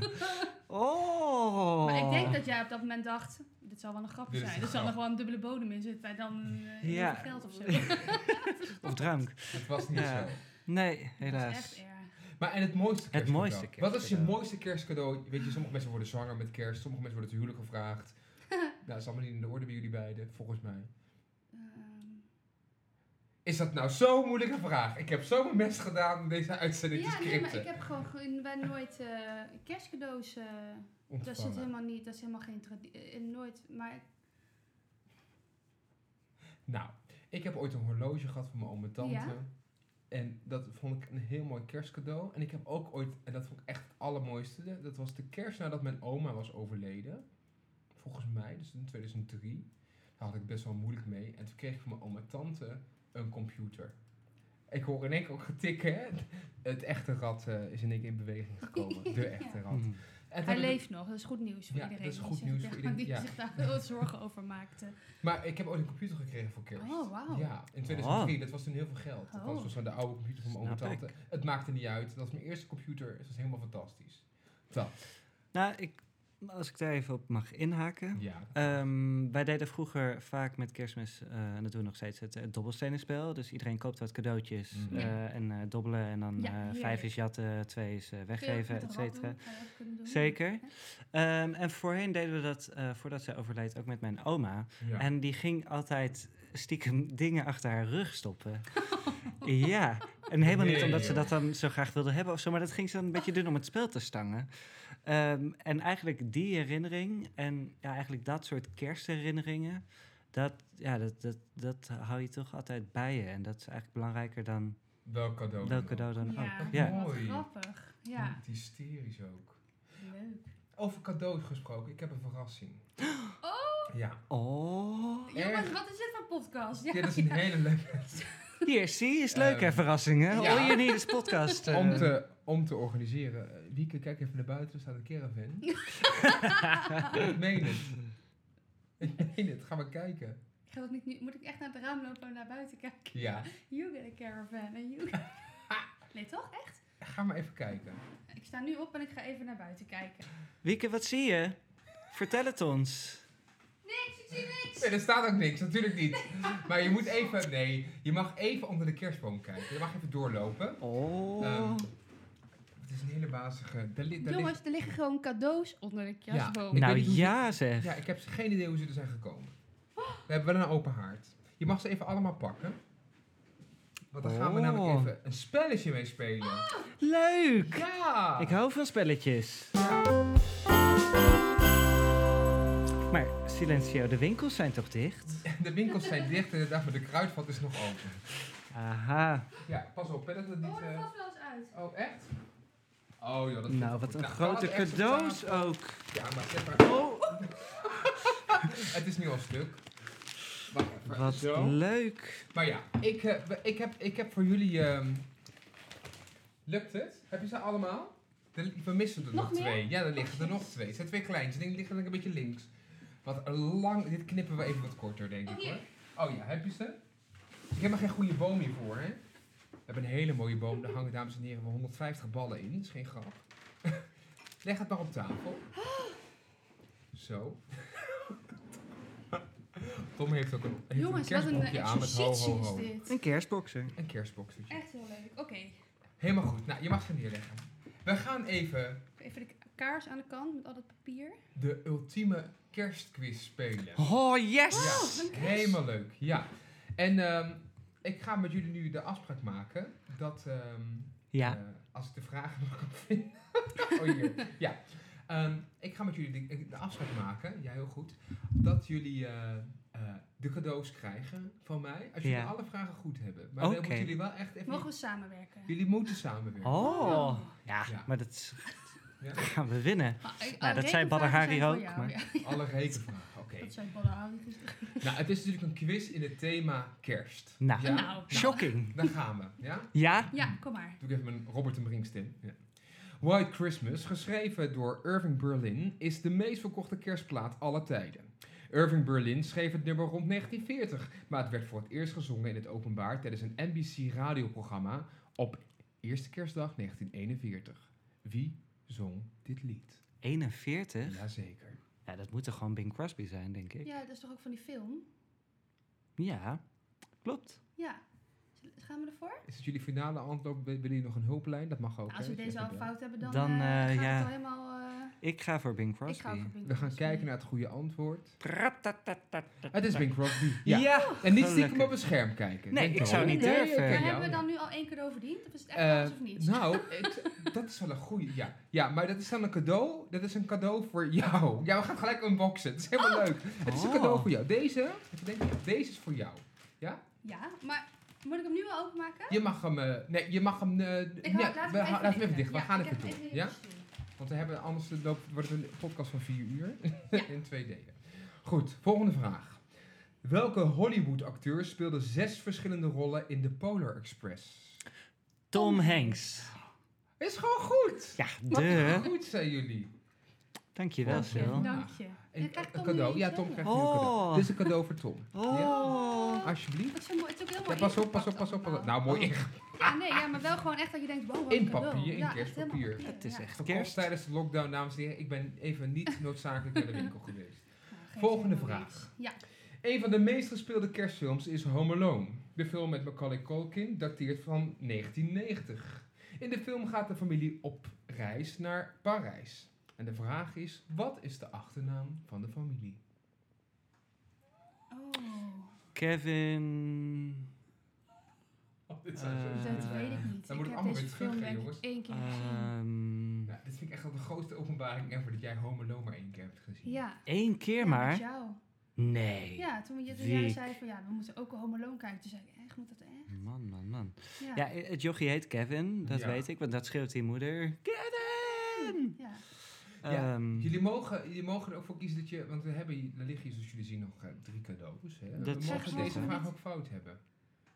D: Oh!
C: Maar ik denk dat jij op dat moment dacht, dit zal wel een grapje
B: Dit is
C: zijn.
B: een
C: Er zal
B: grap.
C: er gewoon een dubbele bodem in zitten. En dan eh, heel
D: Ja.
C: veel geld of zo. Dat
D: Of drank.
B: Het was niet
D: Ja.
B: zo.
D: Nee,
C: is echt
D: helaas.
C: erg.
B: Maar en het mooiste kerstcadeau.
D: mooiste
B: Wat is je
D: kerstcadeau.
B: mooiste kerstcadeau? Weet je, sommige mensen worden zwanger met kerst. Sommige mensen worden het huwelijk gevraagd. nou, dat is allemaal niet in de orde bij jullie beiden, volgens mij.
C: Ehm,
B: Is dat nou zo'n moeilijke vraag? Ik heb zo mijn best gedaan om deze uitzending te
C: Ehm, ja, nee, maar
B: scripten.
C: ik heb gewoon ge- wij nooit eh, kerstcadeaus. eh, dat zit
B: Ontvangen.
C: helemaal niet, dat is helemaal geen traditie. nooit, maar
B: Nou, ik heb ooit een horloge gehad van mijn oom en tante.
C: Ja?
B: En dat vond ik een heel mooi kerstcadeau. En ik heb ook ooit, en dat vond ik echt het allermooiste, dat was de kerst nadat mijn oma was overleden. Volgens mij, dus in 2003. Daar had ik best wel moeilijk mee. En toen kreeg ik van mijn oom en tante een computer. Ik hoor in één keer ook getikken. hè. Het echte rad eh, is in één keer in beweging gekomen. De echte rad. En toen
D: Mhm.
B: heb
C: hij
B: ik-
C: leeft nog. Dat is goed nieuws voor
B: Ja,
C: iedereen.
B: dat is
C: die
B: goed
C: zich
B: nieuws
C: daar-
B: voor iedereen,
C: Die
B: ja.
C: zich daar veel zorgen over maakte.
B: Maar ik heb ooit een computer gekregen voor kerst.
C: Oh, wauw.
B: Ja, in 2003.
D: Wow.
B: Dat was toen heel veel geld. Dat
C: Oh.
B: was volgens mij de oude computer van mijn oom en
D: Snap
B: tante. Het maakte niet uit. Dat was mijn eerste computer. Het was helemaal fantastisch. Dat.
D: Nou, ik, als ik daar even op mag inhaken.
B: Ja.
D: Ehm, wij deden vroeger vaak met kerstmis, eh, en dat doen we nog steeds, het, het dobbelstenenspel. Dus iedereen koopt wat cadeautjes
B: Mhm.
D: eh, en eh, dobbelen. En dan
C: Ja,
D: eh,
C: heerlijk.
D: vijf is jatten, twee is eh, weggeven, et cetera.
C: eh, Zeker.
D: Zeker. Ehm, en voorheen deden we dat, eh, voordat zij overleed, ook met mijn oma.
B: ja.
D: En die ging altijd stiekem dingen achter haar rug stoppen. ja, en helemaal niet
B: Nee,
D: omdat ze
B: joh.
D: dat dan zo graag wilde hebben of zo, maar dat ging ze dan een beetje doen om het spel te stangen. Ehm, en eigenlijk die herinnering en ja, eigenlijk dat soort kerstherinneringen, dat, ja, dat, dat, dat hou je toch altijd bij je. En dat is eigenlijk belangrijker dan
B: Welk cadeau.
D: welk cadeau dan ook.
C: Ja,
D: Ja.
C: wat
B: Oh, Mooi.
C: grappig. Ja,
B: Het hysterisch ook.
C: leuk.
B: Over cadeaus gesproken. Ik heb een verrassing.
C: Oh,
B: Ja.
D: Oh,
C: jongens,
B: Erg.
C: wat is dit voor podcast? Ja,
B: Dit is een
C: ja.
B: hele leuke.
D: hier, zie, is leuk hè,
B: Ehm,
D: verrassingen.
B: ja.
D: All you need is podcast. eh.
B: Om te, om te organiseren. Eh, Wieke, kijk even naar buiten. Er staat een caravan. ik meen het. Ik meen het. Ga maar kijken.
C: Ik ga dat niet nu. Moet ik echt naar het raam lopen en naar buiten kijken?
B: Ja.
C: You get a caravan en you. Nee, toch? Echt?
B: Ga maar even kijken.
C: Ik sta nu op en ik ga even naar buiten kijken.
D: Wieke, wat zie je? Vertel het ons.
C: Niks, ik zie niks!
B: Nee, er staat ook niks, natuurlijk niet. Maar je moet even, nee, je mag even onder de kerstboom kijken. Je mag even doorlopen.
D: Oh.
B: Ehm, Het is een hele wazige. Daar li- daar ligt-
C: Jongens, er liggen gewoon cadeaus onder de kerstboom.
B: Ik
D: nou
B: weet niet hoe
D: ja, zeg.
B: ja, ik heb geen idee hoe ze er zijn gekomen. We hebben wel een open haard. Je mag ze even allemaal pakken. Want dan gaan we
D: Oh.
B: namelijk even een spelletje mee spelen.
D: Leuk!
B: Ja!
D: Ik hou van spelletjes. Maar Silencio, de winkels zijn toch dicht?
B: De winkels zijn dicht inderdaad, maar de kruidvat is nog open.
D: Aha.
B: Ja, pas op, hè, dat het niet...
C: Oh, dat
B: eh,
C: valt wel eens uit.
B: Oh, echt? Oh, joh, dat vind
D: Nou,
B: ik
D: wat
B: goed.
D: een
B: kan
D: grote
B: het echt op
D: cadeaus ook.
B: tafel? Ja, maar zet maar
D: Oh,
B: Het is nu al stuk. Wacht even.
D: wat
B: Zo.
D: leuk.
B: Maar ja, ik, eh, we- ik, heb, ik heb voor jullie... ehm, lukt het? Heb je ze allemaal? Er- we missen er nog,
C: Nog meer?
B: twee. Ja, er liggen er nog twee. Het zijn twee kleintjes. Die liggen een beetje links. Wat een lang... Dit knippen we even wat korter, denk ik
C: Oh, hier.
B: hoor. Oh ja, heb je ze? Ik heb er geen goede boom hiervoor, hè? We hebben een hele mooie boom. Daar hangen, dames en heren, wel 150 ballen in. Dat is geen grap. Leg het maar op tafel. Zo. Tom heeft ook een, heeft
C: Jongens,
B: een
C: wat een
B: kerstbompje
C: eh,
B: aan met ho,
C: exercitie
B: ho,
C: is
B: ho.
C: dit.
D: Een kerstboxer.
B: Een kerstboxertje.
C: Echt heel leuk. Oké,
B: Helemaal goed. Nou, je mag ze neerleggen. We gaan even
C: even de k- kaars aan de kant met al dat papier.
B: de ultieme kerstquiz spelen.
D: Oh, yes!
B: Ja,
C: een quiz.
B: helemaal leuk. Ja. En ehm, ik ga met jullie nu de afspraak maken dat ehm,
D: Ja,
B: eh, als ik de vragen nog kan vinden. oh, hier. Ja. Ehm, ik ga met jullie de, de afspraak maken, ja heel goed, dat jullie eh, eh, de cadeaus krijgen van mij als jullie
D: Ja.
B: alle vragen goed hebben. Maar dan
D: Oké.
B: moeten jullie wel echt even...
C: Mogen we samenwerken?
B: Jullie moeten samenwerken.
D: Oh, ja,
B: Ja.
D: maar dat is-
B: Ja.
D: gaan we winnen.
C: Maar, eh,
D: Nou,
C: eh,
D: dat zei Badr Hari
C: rekenvragen zijn voor
D: ook,
C: jou,
D: maar-
C: ja.
B: Alle rekenvragen, oké.
C: Dat zei Badr Hari.
B: Nou, het is natuurlijk een quiz in het thema kerst.
D: Nou.
B: Ja?
C: Nou.
D: Shocking.
B: Daar gaan we, ja?
D: Ja?
C: Ja, kom maar.
B: Doe ik even mijn Robert en Brink stem. Ja. White Christmas, geschreven door Irving Berlin, is de meest verkochte kerstplaat aller tijden. Irving Berlin schreef het nummer rond 1940, maar het werd voor het eerst gezongen in het openbaar tijdens een NBC-radioprogramma op eerste kerstdag 1941. Wie zong dit lied?
D: 41?
B: Jazeker.
D: Ja, dat moet toch gewoon Bing Crosby zijn, denk ik?
C: Ja, dat is toch ook van die film?
D: Ja, klopt.
C: Ja. Zullen- Gaan we ervoor?
B: Is het jullie finale antwoord? Willen jullie nog een hulplijn? Dat mag ook.
C: Nou, als
B: hè?
C: we
B: Dus
C: deze
B: even
C: al
B: bellen.
C: fout hebben, dan,
D: Dan,
C: eh,
D: eh,
C: gaat
D: ja.
C: het al helemaal... eh,
D: Ik ga voor Bing
C: ik ga
D: Crosby.
C: ook
B: We gaan kijken naar het goede antwoord. Het is Bing Crosby.
D: Ja,
B: Ja. En niet stiekem
D: Gelukkig.
B: op een scherm kijken.
D: Nee,
B: Denk
D: ik
B: erom.
D: zou niet
B: Nee,
D: durven.
B: ik ken
D: Maar
C: Maar
B: jou,
C: hebben we
B: ja.
C: dan nu al één cadeau verdiend? Of is het echt
B: Eh,
C: alles of niet?
B: Nou, ik- dat is wel een goeie. Ja. ja, maar dat is dan een cadeau. Dat is een cadeau voor jou. Ja, we gaan gelijk unboxen. Het is helemaal leuk. Het is een
D: Oh.
B: cadeau voor jou. Deze, even denken, deze is voor jou.
C: Ja, maar moet ik hem nu al openmaken?
B: Je mag hem. eh, nee, je mag hem. eh,
C: Ik
B: nee,
C: hou, laat
B: we
C: hem
B: hou-
C: even,
B: laten we even dicht. We
C: Ja,
B: gaan
C: ik
B: even
C: heb
B: doen.
C: even
B: Ja?
C: iets te doen.
B: Want we hebben anders eh, loopt, wordt het een podcast van vier uur in twee delen. Goed, volgende vraag. Welke Hollywood-acteur speelde zes verschillende rollen in de Polar Express?
D: Tom Hanks.
B: Is gewoon goed!
D: Ja,
B: Wat
D: de.
B: goed zijn jullie.
D: Dankjewel,
B: Dank je.
D: Sil.
C: Dank je.
B: En
C: Dan krijgt
B: een
C: Tom
B: cadeau.
C: nu
B: Ja,
C: iets
B: Tom
C: wel.
B: krijgt nu een cadeau.
D: Oh.
B: Dit is een cadeau voor Tom.
D: Oh.
B: Alsjeblieft.
C: Dat is zo mooi. Het is ook heel
B: Ja,
C: mooi.
B: pas op, pas op,
C: ingepakt
B: pas op. pas op.
C: allemaal.
B: Nou, mooi ingepakt.
C: Ja, nee, ja, maar wel gewoon echt dat je denkt, wow, wat
B: In
C: een cadeau.
B: papier, in
C: Ja, echt
B: kerstpapier.
C: helemaal papier,
D: Het is
C: ja.
D: echt
B: Dat komt
D: kerst.
B: tijdens de lockdown, dames en heren. Ik ben even niet noodzakelijk naar de winkel geweest.
C: Nou, geeft
B: Volgende
C: helemaal
B: vraag.
C: niks. Ja,
B: Een van de meest gespeelde kerstfilms is Home Alone. De film met Macaulay Culkin dateert van 1990. In de film gaat de familie op reis naar Parijs. En de vraag is, wat is de achternaam van de familie?
C: oh,
B: Eh,
D: Kevin.
B: Oh, dit zijn zo
D: Eh,
B: zielig.
C: dat weet ik niet.
B: dan
C: ik
B: moet ik
C: heb
B: allemaal
C: deze
B: weer terug,
C: film
B: hè,
C: denk
B: jongens. Eh,
C: ik één keer gezien.
D: ehm
B: Nou, dit vind ik echt wel de grootste openbaring ever dat jij Home Alone maar één keer hebt gezien.
C: Ja.
D: Eén
C: Ja,
D: keer
C: met
D: maar?
C: jou.
D: Nee.
C: Ja, toen, je, toen jij
D: Wiek.
C: zei van ja, we moeten ook een homoloon kijken. Toen zei ik, echt, moet dat echt?
D: Man, man, man.
C: Ja.
D: Ja, het jochie heet Kevin, dat
B: Ja.
D: weet ik, want dat schreeuwt die moeder. Kevin!
C: Ja.
B: Ja,
D: Ehm,
B: Jullie mogen, jullie mogen er ook voor kiezen dat je, want we hebben, hier- er liggen hier zoals jullie zien nog eh, drie cadeaus. Hè?
D: Dat
B: we
D: zeg
B: mogen
D: ik
B: deze
D: nog
B: vraag
C: niet.
B: ook fout hebben.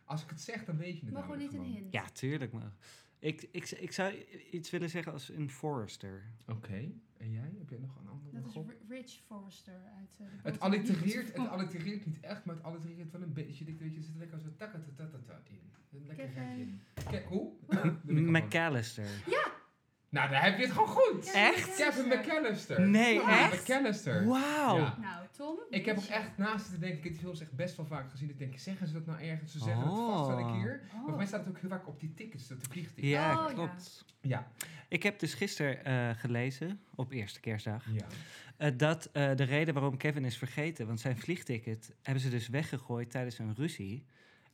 B: Als ik het zeg, dan weet je het
C: Mogen we niet
B: namelijk
C: een
B: gewoon.
C: hint?
D: ja, tuurlijk. Maar ik, ik, ik zou iets willen zeggen als een Forrester.
B: Oké, en jij? Heb jij nog een andere?
C: Dat is
B: gok?
C: Ri- Rich Forrester uit eh, de
B: het
C: Botte Liefde.
B: allitereert, het allitereert niet echt, maar het allitereert wel een beetje. Ik weet je, er zit lekker zo'n takatatatata in. Er zit Lekker
C: Kevin.
B: rijtje in. Kijk, hoe? Nou,
D: McAllister.
B: daar heb je het gewoon goed.
C: Ja,
D: Echt?
B: Kevin McAllister.
D: Nee,
B: Ja,
D: echt?
B: McAllister.
D: Wauw!
B: Ja.
C: Nou, Tom.
B: Ik heb ook
C: Rich.
B: echt naast zitten denken, ik heb die films echt best wel vaak gezien. Ik denk, zeggen ze dat nou ergens? Ze zeggen het vast wel een
D: Oh.
B: keer.
C: Oh.
B: Maar voor mij staat het ook heel vaak op die tickets, dat de vliegtickets.
D: Ja,
C: Oh, ja.
D: klopt.
B: Ja.
D: Ik heb dus gisteren gelezen, op eerste kerstdag,
B: ja.
D: eh, dat eh, de reden waarom Kevin is vergeten, want zijn vliegticket hebben ze dus weggegooid tijdens een ruzie.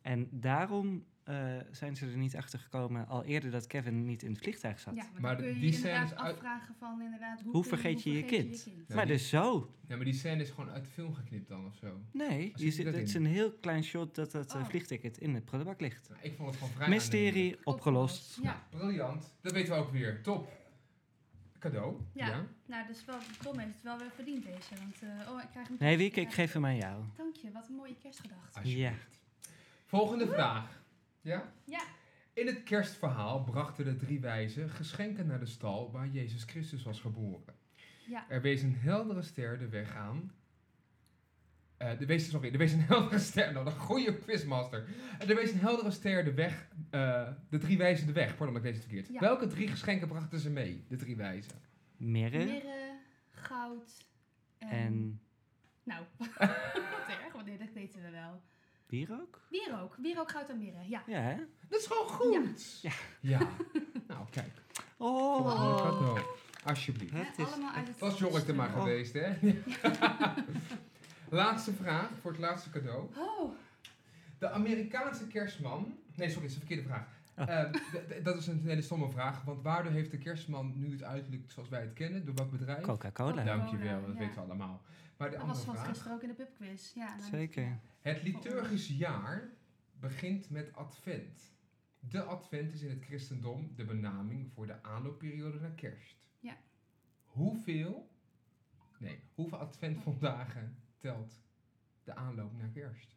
D: En daarom eh, zijn ze er niet achter gekomen al eerder dat Kevin niet in het vliegtuig zat.
C: Ja, maar,
B: Maar
C: dan kun je
B: die
C: je inderdaad
B: scènes uit-
C: afvragen van inderdaad... Hoe,
D: Hoe
C: kun
D: vergeet je je
C: vergeet
D: kind?
B: Ja,
D: maar
B: die-
D: dus zo.
B: ja, maar die scène is gewoon uit de film geknipt dan of zo.
D: Nee,
B: zit
D: je
B: die
D: zit,
B: dat
D: het is
B: in?
D: een heel klein shot dat dat eh,
C: Oh.
D: vliegticket in het prullenbak ligt.
B: Nou, ik vond het gewoon vrij aannemelijk.
D: Mysterie opgelost.
C: Ja,
B: Briljant. Dat weten we ook weer. Top. Cadeau.
C: Ja. nou, dus wel, Tom heeft het wel weer verdiend deze. Want, eh, oh, ik krijg hem...
D: Nee, Wieke,
C: Ja.
D: ik geef hem aan jou.
C: Dank je, wat een mooie
B: Ah,
C: kerstgedachte.
D: Ja.
B: Alsjeblieft. Volgende vraag. Ja?
C: Ja.
B: In het kerstverhaal brachten de drie wijzen geschenken naar de stal waar Jezus Christus was geboren.
C: Ja.
B: Er wees een heldere ster de weg aan. Eh, er wees, sorry, er wees een heldere ster. Nou, een goede quizmaster. Eh, Er wees een heldere ster de weg. eh, de drie wijzen de weg. Pardon, ik lees het verkeerd.
C: Ja.
B: Welke drie geschenken brachten ze mee? De drie wijzen.
D: Mirre,
C: Mirre, goud
D: En
C: Nou, wat erg, want nee, dat weten we wel.
D: wierook?
C: Wierook, wierook, goud en mirre, ja.
D: Ja, hè?
B: Dat is gewoon goed.
D: Ja.
B: Ja. Nou, kijk.
D: Oh,
B: Volgende cadeau. Alsjeblieft.
C: Hè,
D: het is...
C: allemaal uit het
B: Het was Jorrit er
D: Oh.
B: maar geweest, hè? laatste vraag voor het laatste cadeau.
C: Oh,
B: De Amerikaanse kerstman. Nee, sorry, dat is een verkeerde vraag. Eh, d- d- dat is een hele stomme vraag, want waardoor heeft de kerstman nu het uiterlijk zoals wij het kennen? Door wat bedrijf?
D: Coca-Cola.
C: Oh, Ja.
B: Dankjewel, dat
C: Ja.
B: weten we allemaal. Maar de
C: dat
B: andere
C: was van
B: vraag.
C: gisteren ook in de pubquiz. Ja, nou,
D: Zeker.
B: Het liturgisch jaar begint met advent. De advent is in het christendom de benaming voor de aanloopperiode naar kerst.
C: Ja.
B: Hoeveel, nee, hoeveel adventvoldagen telt de aanloop naar kerst?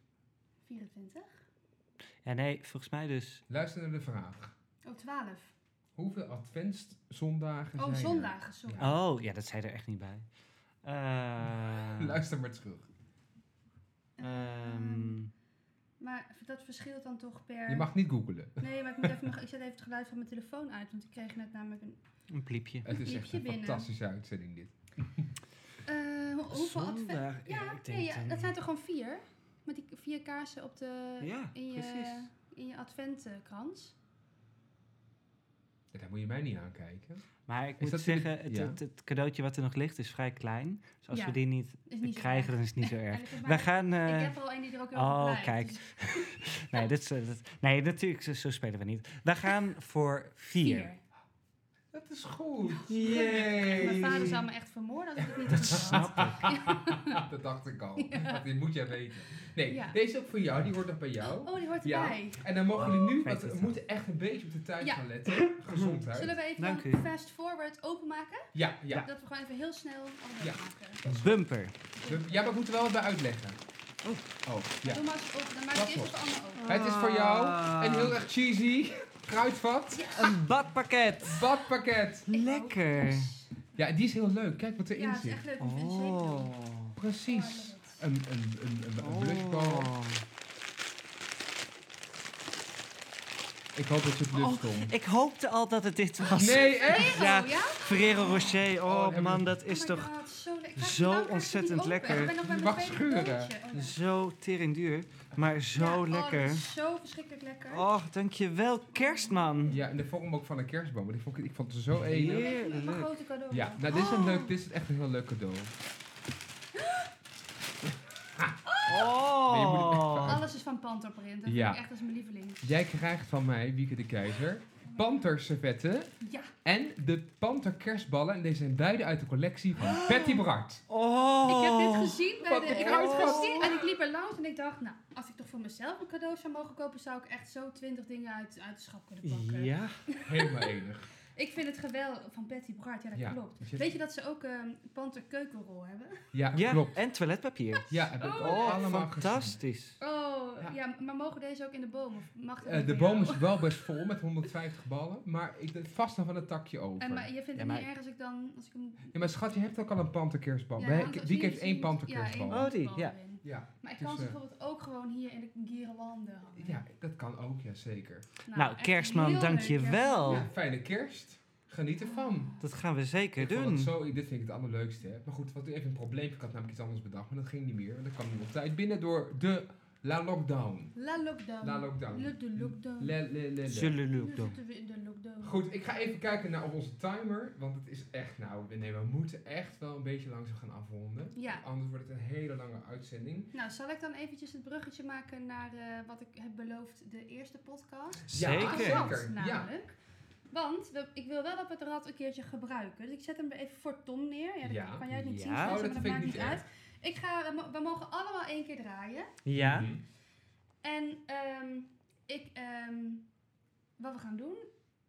C: 24?
D: Ja, nee, volgens mij dus...
B: Luister naar de vraag.
C: Oh, 12.
B: Hoeveel adventzondagen zijn er?
C: Oh, zondagen, sorry.
B: Ja.
D: Oh, ja, dat zei er echt niet bij. Eh,
B: Luister maar terug.
D: ehm,
C: Maar dat verschilt dan toch per...
B: Je mag niet googelen.
C: Nee, maar ik, moet even nog, ik zet even het geluid van mijn telefoon uit, want ik kreeg net namelijk een...
D: een pliepje.
B: Het is echt
C: Piepje
B: een
C: binnen.
B: fantastische uitzending dit.
C: Eh, hoe- hoeveel advent...
D: Zondag,
C: Ja,
D: ik denk
C: nee, ja,
D: dan-
C: dat zijn toch gewoon vier? Met die vier kaarsen op de...
D: Ja,
C: in
D: precies.
C: je, in je adventkrans.
B: Ja, Daar moet je mij niet aankijken.
D: Maar ik
B: Is
D: moet
B: dat jullie-
D: zeggen, het,
B: ja.
D: het, het cadeautje wat er nog ligt is vrij klein. Dus als
C: Ja.
D: we die niet
C: Is niet zo
D: krijgen,
C: erg.
D: dan is het niet zo erg.
C: En ik heb
D: We
C: maar-
D: gaan... eh,
C: ik heb er al één die er ook heel
D: oh,
C: blij is,
D: kijk.
C: dus
D: nee, dit, is, eh, dat, nee, natuurlijk, zo, zo spelen we niet. We gaan voor vier.
B: Dat is goed.
D: Yay.
C: Mijn vader zou me echt vermoorden als ik het niet
D: Dat
C: had
D: snap
C: gehad.
D: ik.
B: dat dacht ik al. Want dit moet jij weten. Nee,
C: Ja.
B: deze is ook voor jou. Die hoort nog bij jou.
C: Oh, die hoort
B: Ja.
C: erbij.
B: En dan mogen jullie nu,
D: Kijk
B: want
D: dit
B: we
D: dan.
B: moeten echt een beetje op de tijd
C: Ja.
B: gaan letten. Gezondheid.
C: Zullen we even
D: Dank
C: dan
D: u.
C: fast forward openmaken?
B: Ja, ja.
C: Dat we gewoon even heel snel allemaal
B: Ja.
C: maken.
D: Bumper.
B: We- Ja, maar ik moet er wel wat bij uitleggen. Oh, ja.
C: Doe maar eens open. Dan maak
B: Pas
C: ik eerst
B: op.
C: op de andere open.
B: Het is voor jou een heel erg cheesy kruidvat
D: Een badpakket.
B: badpakket.
D: Lekker.
B: Ja, en die is heel leuk. Kijk wat erin
C: Ja, het is
B: zit.
C: echt leuk. Ik vind het zeker leuk.
D: Oh.
B: Precies.
C: Oh,
B: Een, een, een, een, een blushbal.
D: Oh.
B: Ik hoop dat je
C: Oh.
B: blush komt.
D: Ik hoopte al dat het dit was.
B: Nee, echt?
C: Ferrero,
D: Ja.
C: Oh, ja?
D: Ferrero Rocher,
B: Oh,
D: oh,
B: hebben
D: man,
B: we-
D: dat is
C: Oh my
D: toch
C: God, zo, lekker. Ik ga-
D: zo
C: nou krijg ik het
D: ontzettend
C: niet open.
D: lekker.
C: Ik ben nog bij
B: Je
C: mijn
B: mag
C: tweede
B: scheuren.
C: broodje. Oh, nee.
D: zo tering duur, maar
C: Ja,
D: zo
C: oh, dat
D: lekker.
C: is zo verschrikkelijk lekker.
D: Oh, dankjewel, kerstman.
B: Ja, en de vorm ook van een kerstboom. Maar die vond ik, ik vond het zo
C: Dat
B: enig.
C: is mijn-
D: heerlijk.
C: Mijn grote cadeau.
B: Ja, nou dit is, een leuk, dit is echt een heel leuk cadeau. Nee, je moet het echt
D: Oh.
B: veranderen.
C: Alles is van panterprint. Dat
B: Ja.
C: vind ik echt als mijn lieveling.
B: Jij krijgt van mij, Wieke de Keizer, panterservetten
C: Ja.
B: en de panterkerstballen. En deze zijn beide uit de collectie van Patty Bart.
D: Oh.
C: Ik heb dit gezien bij
B: Wat
C: de
B: een
C: ik heb
B: kruidvat.
C: dit gezien en ik liep er langs en ik dacht, nou, als ik toch voor mezelf een cadeau zou mogen kopen, zou ik echt zo twintig dingen uit, uit de schap kunnen pakken.
D: Ja.
B: Helemaal enig.
C: Ik vind het geweldig van Betty Bart, ja dat
B: Ja.
C: klopt.
B: Dus je-
C: Weet je dat ze ook ehm panter keukenrol hebben?
B: Ja,
D: ja,
B: klopt.
D: en toiletpapier.
B: Ja, heb ik ook
D: Oh,
B: allemaal gezien.
D: fantastisch.
C: Oh,
B: Ja.
C: ja. maar mogen deze ook in de boom? Of mag dat
B: Eh,
C: niet
B: de
C: bij
B: boom
C: jou?
B: is wel best vol met 150 ballen, maar ik deed vast nog wel een takje over.
C: En, maar je vindt
D: Ja,
C: het
D: maar-
C: niet erg als ik dan... Als ik hem,
B: Ja, maar schat, je hebt ook al een panterkerstbal.
C: Ja,
B: Wij-
C: want als
B: Wieke
C: je-
B: heeft één
C: je-
B: panterkerstbal.
C: Ja,
B: Ja,
D: één. Oh, die,
C: panterkerstbal
D: ja.
C: erin.
B: ja.
C: Maar ik
B: Dus,
C: kan ze
B: eh,
C: bijvoorbeeld ook gewoon hier in de gierenlanden hangen.
B: dat kan ook, ja zeker.
D: Nou,
C: echt
D: kerstman,
C: heel leuk,
D: dankjewel.
C: kerstman.
B: Ja, fijne kerst. Geniet ervan.
D: Dat gaan we zeker
B: Ik vond
D: doen.
B: het zo, dit vind ik het allerleukste. Hè. Maar goed, wat even een probleem. Ik had namelijk iets anders bedacht, maar dat ging niet meer. Want ik kwam niet op tijd binnen door de La Lockdown.
C: La lockdown.
B: La Lockdown.
C: Le- de lockdown.
B: Le, le, le, le.
D: Zullen
C: Nu
D: jullie ook doen.
C: zitten we in de lockdown.
B: Goed, ik ga even kijken naar onze timer. Want het is echt, nou, nee, we moeten echt wel een beetje langzaam gaan afronden.
C: Ja.
B: Anders wordt het een hele lange uitzending.
C: Nou, zal ik dan eventjes het bruggetje maken naar eh, wat ik heb beloofd de eerste podcast?
B: Ja,
D: Zeker.
B: zeker.
C: Dat,
B: Ja.
C: namelijk. Want we- ik wil wel dat we het rad een keertje gebruiken. Dus ik zet hem er even voor Tom neer. Ja, dat
B: Ja.
C: kan jij het niet
D: Ja.
C: zien, Stefan,
D: Oh,
B: dat
C: maar dat
B: vind ik
C: maakt
B: niet
C: niet uit. Ik ga, we mo- we mogen allemaal één keer draaien.
D: Ja.
B: Mhm.
C: En ehm, ik, ehm, wat we gaan doen,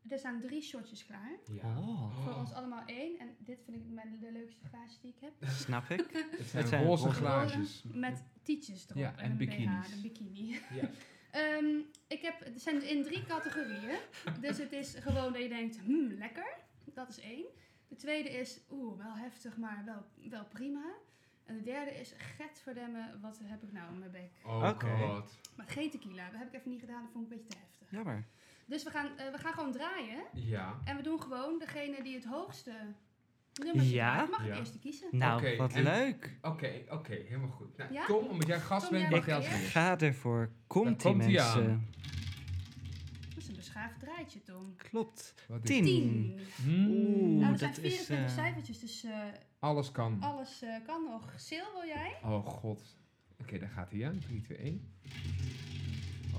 C: er staan drie shotjes klaar.
B: Ja.
D: Oh,
C: Voor ons allemaal één. En dit vind ik mijn, de leukste glaasjes die ik heb.
D: snap ik.
B: Het zijn,
D: zijn
B: roze
D: roze.
B: glaasjes.
C: Met tietjes erop.
B: Ja, en
C: een
B: bikinis.
C: BH, een bikini.
B: Ja.
C: Ehm, ik heb, het zijn dus in drie categorieën. Dus het is gewoon dat je denkt, hmm, lekker. Dat is één. De tweede is, oeh, wel heftig, maar wel, wel prima. En de derde is, get verdemmen, wat heb ik nou in mijn bek?
B: Oh
D: Oké.
B: god.
C: Maar geen tequila, dat heb ik even niet gedaan, dat vond ik een beetje te heftig.
D: Jammer.
C: Dus we gaan, eh, we gaan gewoon draaien.
B: Ja.
C: En we doen gewoon degene die het hoogste nummers
D: Ja?
C: gemaakt. Mag ik
B: Ja.
C: eerst kiezen?
D: Nou,
B: Oké,
D: wat
B: en-
D: leuk.
B: Oké, oké, helemaal goed. Nou,
C: Ja?
B: Tom, omdat jij gast
C: Tom,
B: bent,
C: jij
B: mag jij
C: mag
B: als
C: eerst.
B: eerst.
D: Ga ervoor. Komt die
B: Daar komt ie
D: mensen.
B: aan.
C: Dat is een beschaafd draadje, Tom.
D: Klopt.
B: Wat is-
D: Tien.
C: Tien.
B: Hmm,
D: Oeh,
C: nou, er zijn
D: dat is,
C: 24
D: eh,
C: cijfertjes, dus eh,
B: Alles kan.
C: alles eh, kan nog. Sil, wil jij?
B: Oh god. Oké, daar gaat hij aan. 3, 2, 1.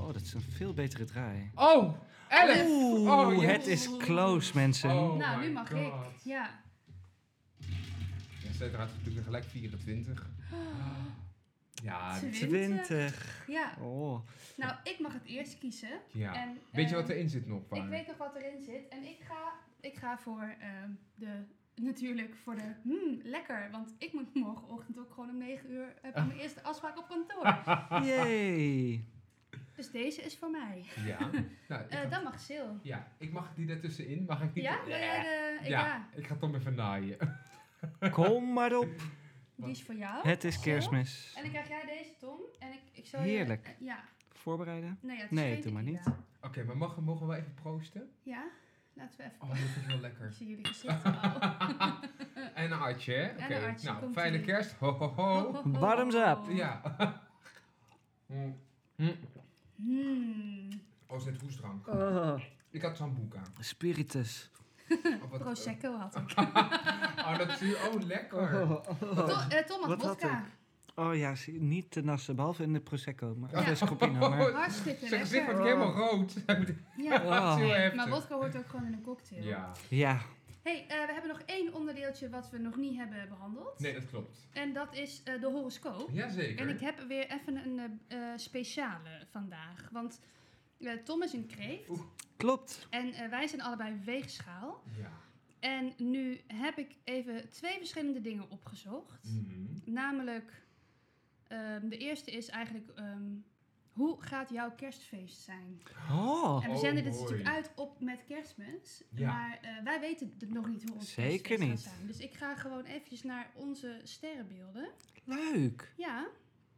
D: Oh, dat is een veel betere draai.
B: Oh! 11!
D: Oeh,
B: Oh, yes.
D: het is close, mensen.
B: Oh
C: nou,
B: my
C: nu mag
B: God.
C: ik. Ja.
B: Ja, zij draait natuurlijk gelijk 24. Ja, dit-
D: 20.
C: Ja.
D: Oh,
C: Nou, ik mag het eerst kiezen.
B: ja.
C: En,
B: Weet je
C: eh,
B: wat erin zit nog? Waar?
C: Ik weet nog wat erin zit. En ik ga, ik ga voor ehm, de... Natuurlijk voor de... hmm, lekker. Want ik moet morgenochtend ook gewoon om 9 uur... heb
B: Ah.
C: ik mijn eerste afspraak op kantoor.
D: yay.
C: Dus deze is voor mij.
B: Ja. Nou, ik
C: Eh,
B: had-
C: dan mag Sil.
B: ja, ik mag die daartussenin. Mag ik niet?
C: Ja? Wil jij de... ik-
B: Ja,
C: ja.
B: ik ga Tom even naaien.
D: Kom maar op.
C: Die is voor jou.
D: Het is
C: Zo.
D: kerstmis.
C: En dan krijg jij deze, Tom. En ik, ik zal
D: Heerlijk.
C: Je, eh, ja.
D: Voorbereiden?
C: Nou ja, het
D: Nee,
C: weet
D: doe
C: ik
D: maar niet.
C: wel.
B: Oké, maar mag, mogen we even proosten?
C: Ja? Laten we even...
B: Oh, dat is wel
C: Ik
B: lekker.
C: zie jullie gezichten al.
B: En een artje, hè? Oké,
C: En een artje,
B: nou,
C: komt
B: fijne
C: ie.
B: kerst. Ho, ho,
C: Ho,
B: ho.
C: ho, ho.
D: Bottoms up.
B: Oh. Ja. Mm. Mm.
C: Hmm.
B: Oh, is dit hoestdrank?
D: Oh,
B: Ik had Sambuca.
D: spiritus.
B: Of wat-
C: Prosecco had ik.
B: Oh, dat is hier. Oh, lekker.
C: To- eh, Tom had
D: Wat had
C: vodka.
D: Oh ja, zie- niet te nassen, behalve in de Prosecco. Maar,
C: Ja.
D: Of de Scopino, maar...
C: Hartstikke
B: Zijn gezicht wordt
C: lekker.
B: helemaal rood.
C: Ja.
B: Dat is Oh, heel heftig.
C: Maar vodka hoort ook gewoon in een cocktail.
B: Ja.
D: Oh, Ja,
C: hey, eh, we hebben nog één onderdeeltje wat we nog niet hebben behandeld.
B: Nee, dat klopt.
C: En dat is eh, de horoscoop.
B: Jazeker.
C: En ik heb weer even een eh, eh, speciale vandaag. Want eh, Tom is een kreeft
B: Oeh.
D: klopt.
C: en eh, wij zijn allebei weegschaal.
B: Ja.
C: En nu heb ik even twee verschillende dingen opgezocht.
B: Mhm.
C: Namelijk, ehm, de eerste is eigenlijk, ehm, hoe gaat jouw kerstfeest zijn?
D: Oh,
C: En we
B: Oh,
C: zenden dit
B: mooi.
C: natuurlijk uit op met kerstmis.
B: Ja.
C: Maar eh, wij weten d- nog niet hoe ons
D: Zeker
C: kerstfeest
D: niet.
C: gaat zijn. Dus ik ga gewoon eventjes naar onze sterrenbeelden.
D: leuk.
C: Ja,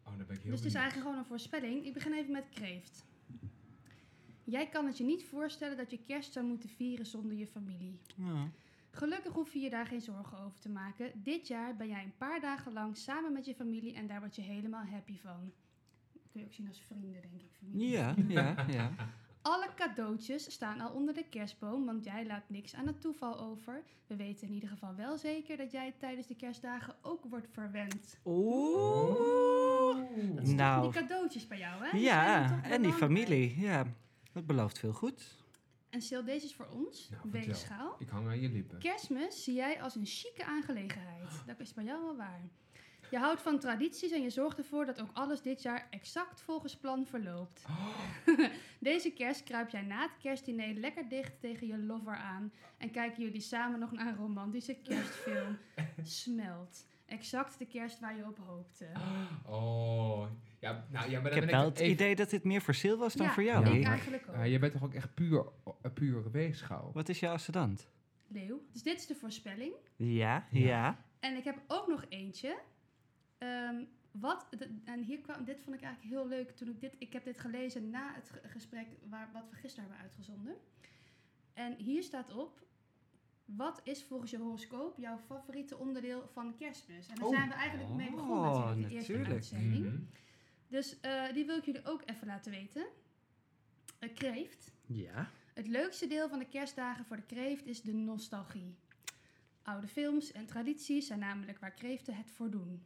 B: Oh, dan ben ik heel
C: dus het is
B: benieuwd.
C: eigenlijk gewoon een voorspelling. Ik begin even met kreeft. Jij kan het je niet voorstellen dat je kerst zou moeten vieren zonder je familie.
D: Ja.
C: Gelukkig hoef je je daar geen zorgen over te maken. Dit jaar ben jij een paar dagen lang samen met je familie en daar word je helemaal happy van. Kun je ook zien als vrienden, denk ik. Familie.
D: Ja, ja, ja.
C: Alle cadeautjes staan al onder de kerstboom, want jij laat niks aan het toeval over. We weten in ieder geval wel zeker dat jij tijdens de kerstdagen ook wordt verwend.
D: Oeh.
B: Oeh.
C: Dat zijn
D: Nou.
C: toch die cadeautjes bij jou, hè? Die zijn
D: Ja,
C: toch
D: en die
C: belangrijk.
D: familie. Ja, dat belooft veel goed.
C: En stel, deze is voor ons,
B: Nou, vertel.
C: weegschaal.
B: Ik hang aan je lippen.
C: Kerstmis zie jij als een chique aangelegenheid. Dat is bij jou wel waar. Je houdt van tradities en je zorgt ervoor dat ook alles dit jaar exact volgens plan verloopt. Deze kerst kruip jij na het kerstdiner lekker dicht tegen je lover aan en kijken jullie samen nog naar een romantische kerstfilm. Smelt. Exact de kerst waar je op hoopte.
B: Oh. Ja, nou ja, maar
D: Ik heb
B: dan ben
D: wel
B: ik
D: het
B: even-
D: idee dat dit meer voor Sil was dan
C: Ja,
D: voor jou.
C: Ik
B: maar-
C: eigenlijk ook.
B: Ah, jij bent toch ook echt puur, eh, puur weegschaal?
D: Wat is jouw ascendant?
C: Leeuw. Dus dit is de voorspelling.
D: Ja,
B: Ja.
D: ja.
C: En ik heb ook nog eentje. Ehm, wat, de- en hier kwam, dit vond ik eigenlijk heel leuk toen ik dit, ik heb dit gelezen na het ge- gesprek waar, wat we gisteren hebben uitgezonden. En hier staat op, wat is volgens je horoscoop jouw favoriete onderdeel van kerstmis? En daar
B: Oh.
C: zijn we eigenlijk mee begonnen
D: Oh,
C: natuurlijk, de eerste
D: natuurlijk.
C: uitzending.
B: Mhm.
C: Dus eh, die wil ik jullie ook even laten weten. Eh, kreeft.
D: Ja.
C: Het leukste deel van de kerstdagen voor de kreeft is de nostalgie. Oude films en tradities zijn namelijk waar kreeften het voor doen.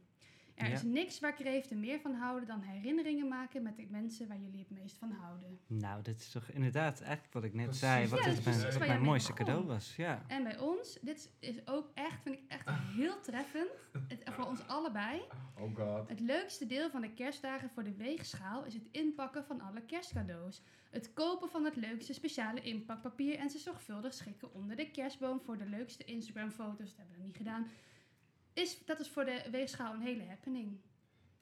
C: Er
D: Ja.
C: is niks waar kreeften meer van houden dan herinneringen maken met de mensen waar jullie het meest van houden.
D: Nou, dat is toch inderdaad eigenlijk wat ik net
B: Precies.
D: zei. Wat
B: Ja,
D: het
B: dat is
D: mijn,
B: precies
D: wat
C: waar
D: mijn
C: jij mee
D: mooiste
C: begon.
D: cadeau was. Ja.
C: En bij ons, dit is ook echt, vind ik echt heel treffend, het, voor ons allebei.
B: Oh god.
C: Het leukste deel van de kerstdagen voor de weegschaal is het inpakken van alle kerstcadeaus. Het kopen van het leukste speciale inpakpapier en ze zorgvuldig schikken onder de kerstboom voor de leukste Instagram-foto's. Dat hebben we niet gedaan. Is, dat is voor de weegschaal een hele happening.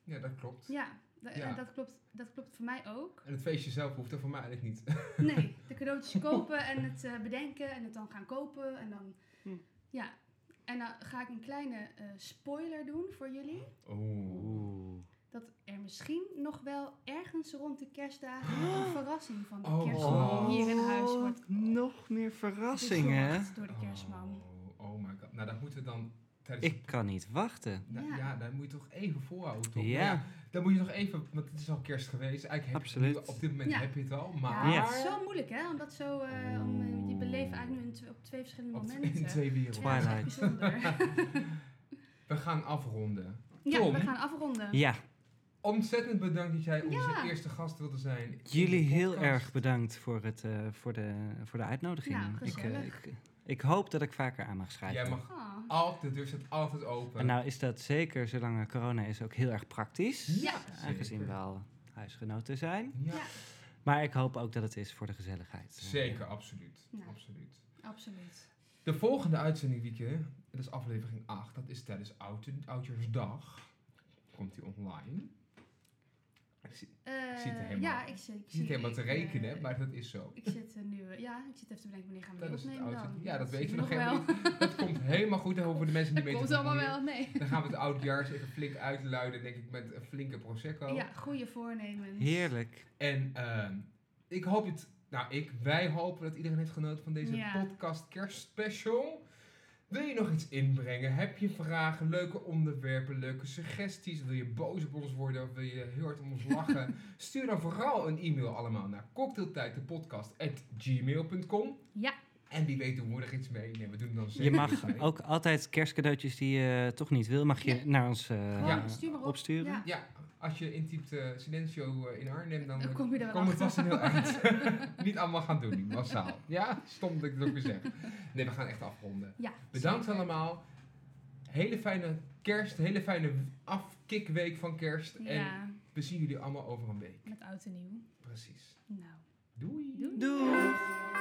B: Ja, dat klopt.
C: Ja, da- eh,
B: Ja.
C: Dat, klopt, dat klopt voor mij ook.
B: En het feestje zelf hoeft er voor mij eigenlijk niet.
C: Nee, de cadeautjes kopen en het eh, bedenken en het dan gaan kopen en dan.
D: Hm.
C: Ja, en dan ga ik een kleine eh, spoiler doen voor jullie.
B: Oeh.
D: Oeh.
C: dat er misschien nog wel ergens rond de kerstdagen een verrassing van de
B: Oh.
C: kerstman hier in huis wordt
D: nog meer verrassingen.
C: bezorgd door de kerstman.
B: Oh, Oh my god. Nou, dat moeten we dan tijdens...
D: Ik kan niet wachten.
B: Nou,
C: Ja.
B: ja. daar moet je toch even volhouden, toch?
D: Ja.
B: Ja, Dan moet je nog even... Want het is al kerst geweest. Eigenlijk heb je het
D: Absoluut.
B: nu- op dit moment
C: Ja.
B: heb je het al, maar...
C: Ja,
D: Ja.
C: het is zo moeilijk hè, om dat zo, eh, om, eh, je beleven eigenlijk nu in tw- op twee verschillende
B: Op t-
C: momenten.
B: in twee werelden.
C: Ja, dat is echt
D: Twilight.
C: bijzonder.
B: We gaan afronden.
C: ja,
B: Tom?
C: we gaan afronden.
D: Ja,
B: Ontzettend bedankt dat jij onze
C: Ja.
B: eerste gast wilde zijn. in
D: jullie
B: de
D: heel
B: podcast.
D: erg bedankt voor, het, eh, voor, de, voor de uitnodiging.
C: Nou,
D: ik, eh,
C: gezellig.
D: ik, ik hoop dat ik vaker aan mag schrijven.
B: Jij mag
C: Ah.
B: altijd, de deur staat altijd open.
D: En nou is dat zeker, zolang er corona is, ook heel erg praktisch.
C: Ja.
D: Aangezien we al huisgenoten zijn.
B: Ja,
C: Ja.
D: Maar ik hoop ook dat het is voor de gezelligheid. Eh,
B: zeker, absoluut.
C: Nou.
B: absoluut.
C: Absoluut.
B: De volgende uitzending, Wieke, dat is aflevering 8. Dat is tijdens Oud Oudjaarsdag. Komt die online. Ik zie-
C: Eh,
B: Ziet er helemaal-
C: ja, ik zit, ik
B: ik zit
C: zit-
B: helemaal te
C: ik, eh,
B: rekenen, maar dat is zo.
C: Ik zit eh, nu, eh, ja, ik zit even te bedenken wanneer gaan we die
B: Tijdens het
C: opnemen
B: oud.
C: dan.
B: Ja, dat
C: zien
B: weten
C: we
B: we nog helemaal
C: wel.
B: niet. Dat komt helemaal goed. Daarover voor de mensen die
C: Dat
B: mee te
C: komt allemaal
B: bemoeien.
C: wel mee.
B: Dan gaan we het oudjaars even flink uitluiden, denk ik, met een flinke prosecco.
C: Ja, goede voornemens.
D: Heerlijk.
B: En ehm, ik hoop het. Nou, ik, wij hopen dat iedereen heeft genoten van deze
C: Ja.
B: podcast kerstspecial. Wil je nog iets inbrengen? Heb je vragen, leuke onderwerpen, leuke suggesties? Wil je boos op ons worden of wil je heel hard om ons lachen? Stuur dan vooral een e-mail allemaal naar cocktailtijddepodcast.gmail.com
C: Ja.
B: En wie weet doen we er iets mee. Nee, we doen er dan zeker
D: Je
B: iets mee.
D: mag ook altijd kerstcadeautjes die je toch niet wil, mag je
C: Ja.
D: naar ons eh,
C: Gewoon, stuur maar op.
D: opsturen.
C: Ja.
B: Ja, als je intypt eh, Silencio eh, in Arnhem, dan
C: Dan
B: eh,
C: kom je er wel
B: het vast
C: achter.
B: een heel eind. Niet allemaal gaan doen, niet massaal. Ja, stom dat ik het ook weer zeg. Nee, we gaan echt afronden.
C: Ja,
B: Bedankt
C: zeker.
B: allemaal. Hele fijne kerst, hele fijne afkikweek van kerst. En
C: Ja,
B: we zien jullie allemaal over een week.
C: met oud en nieuw.
B: Precies.
C: Nou.
B: Doei.
C: Doei.
D: Doei!
C: Doei.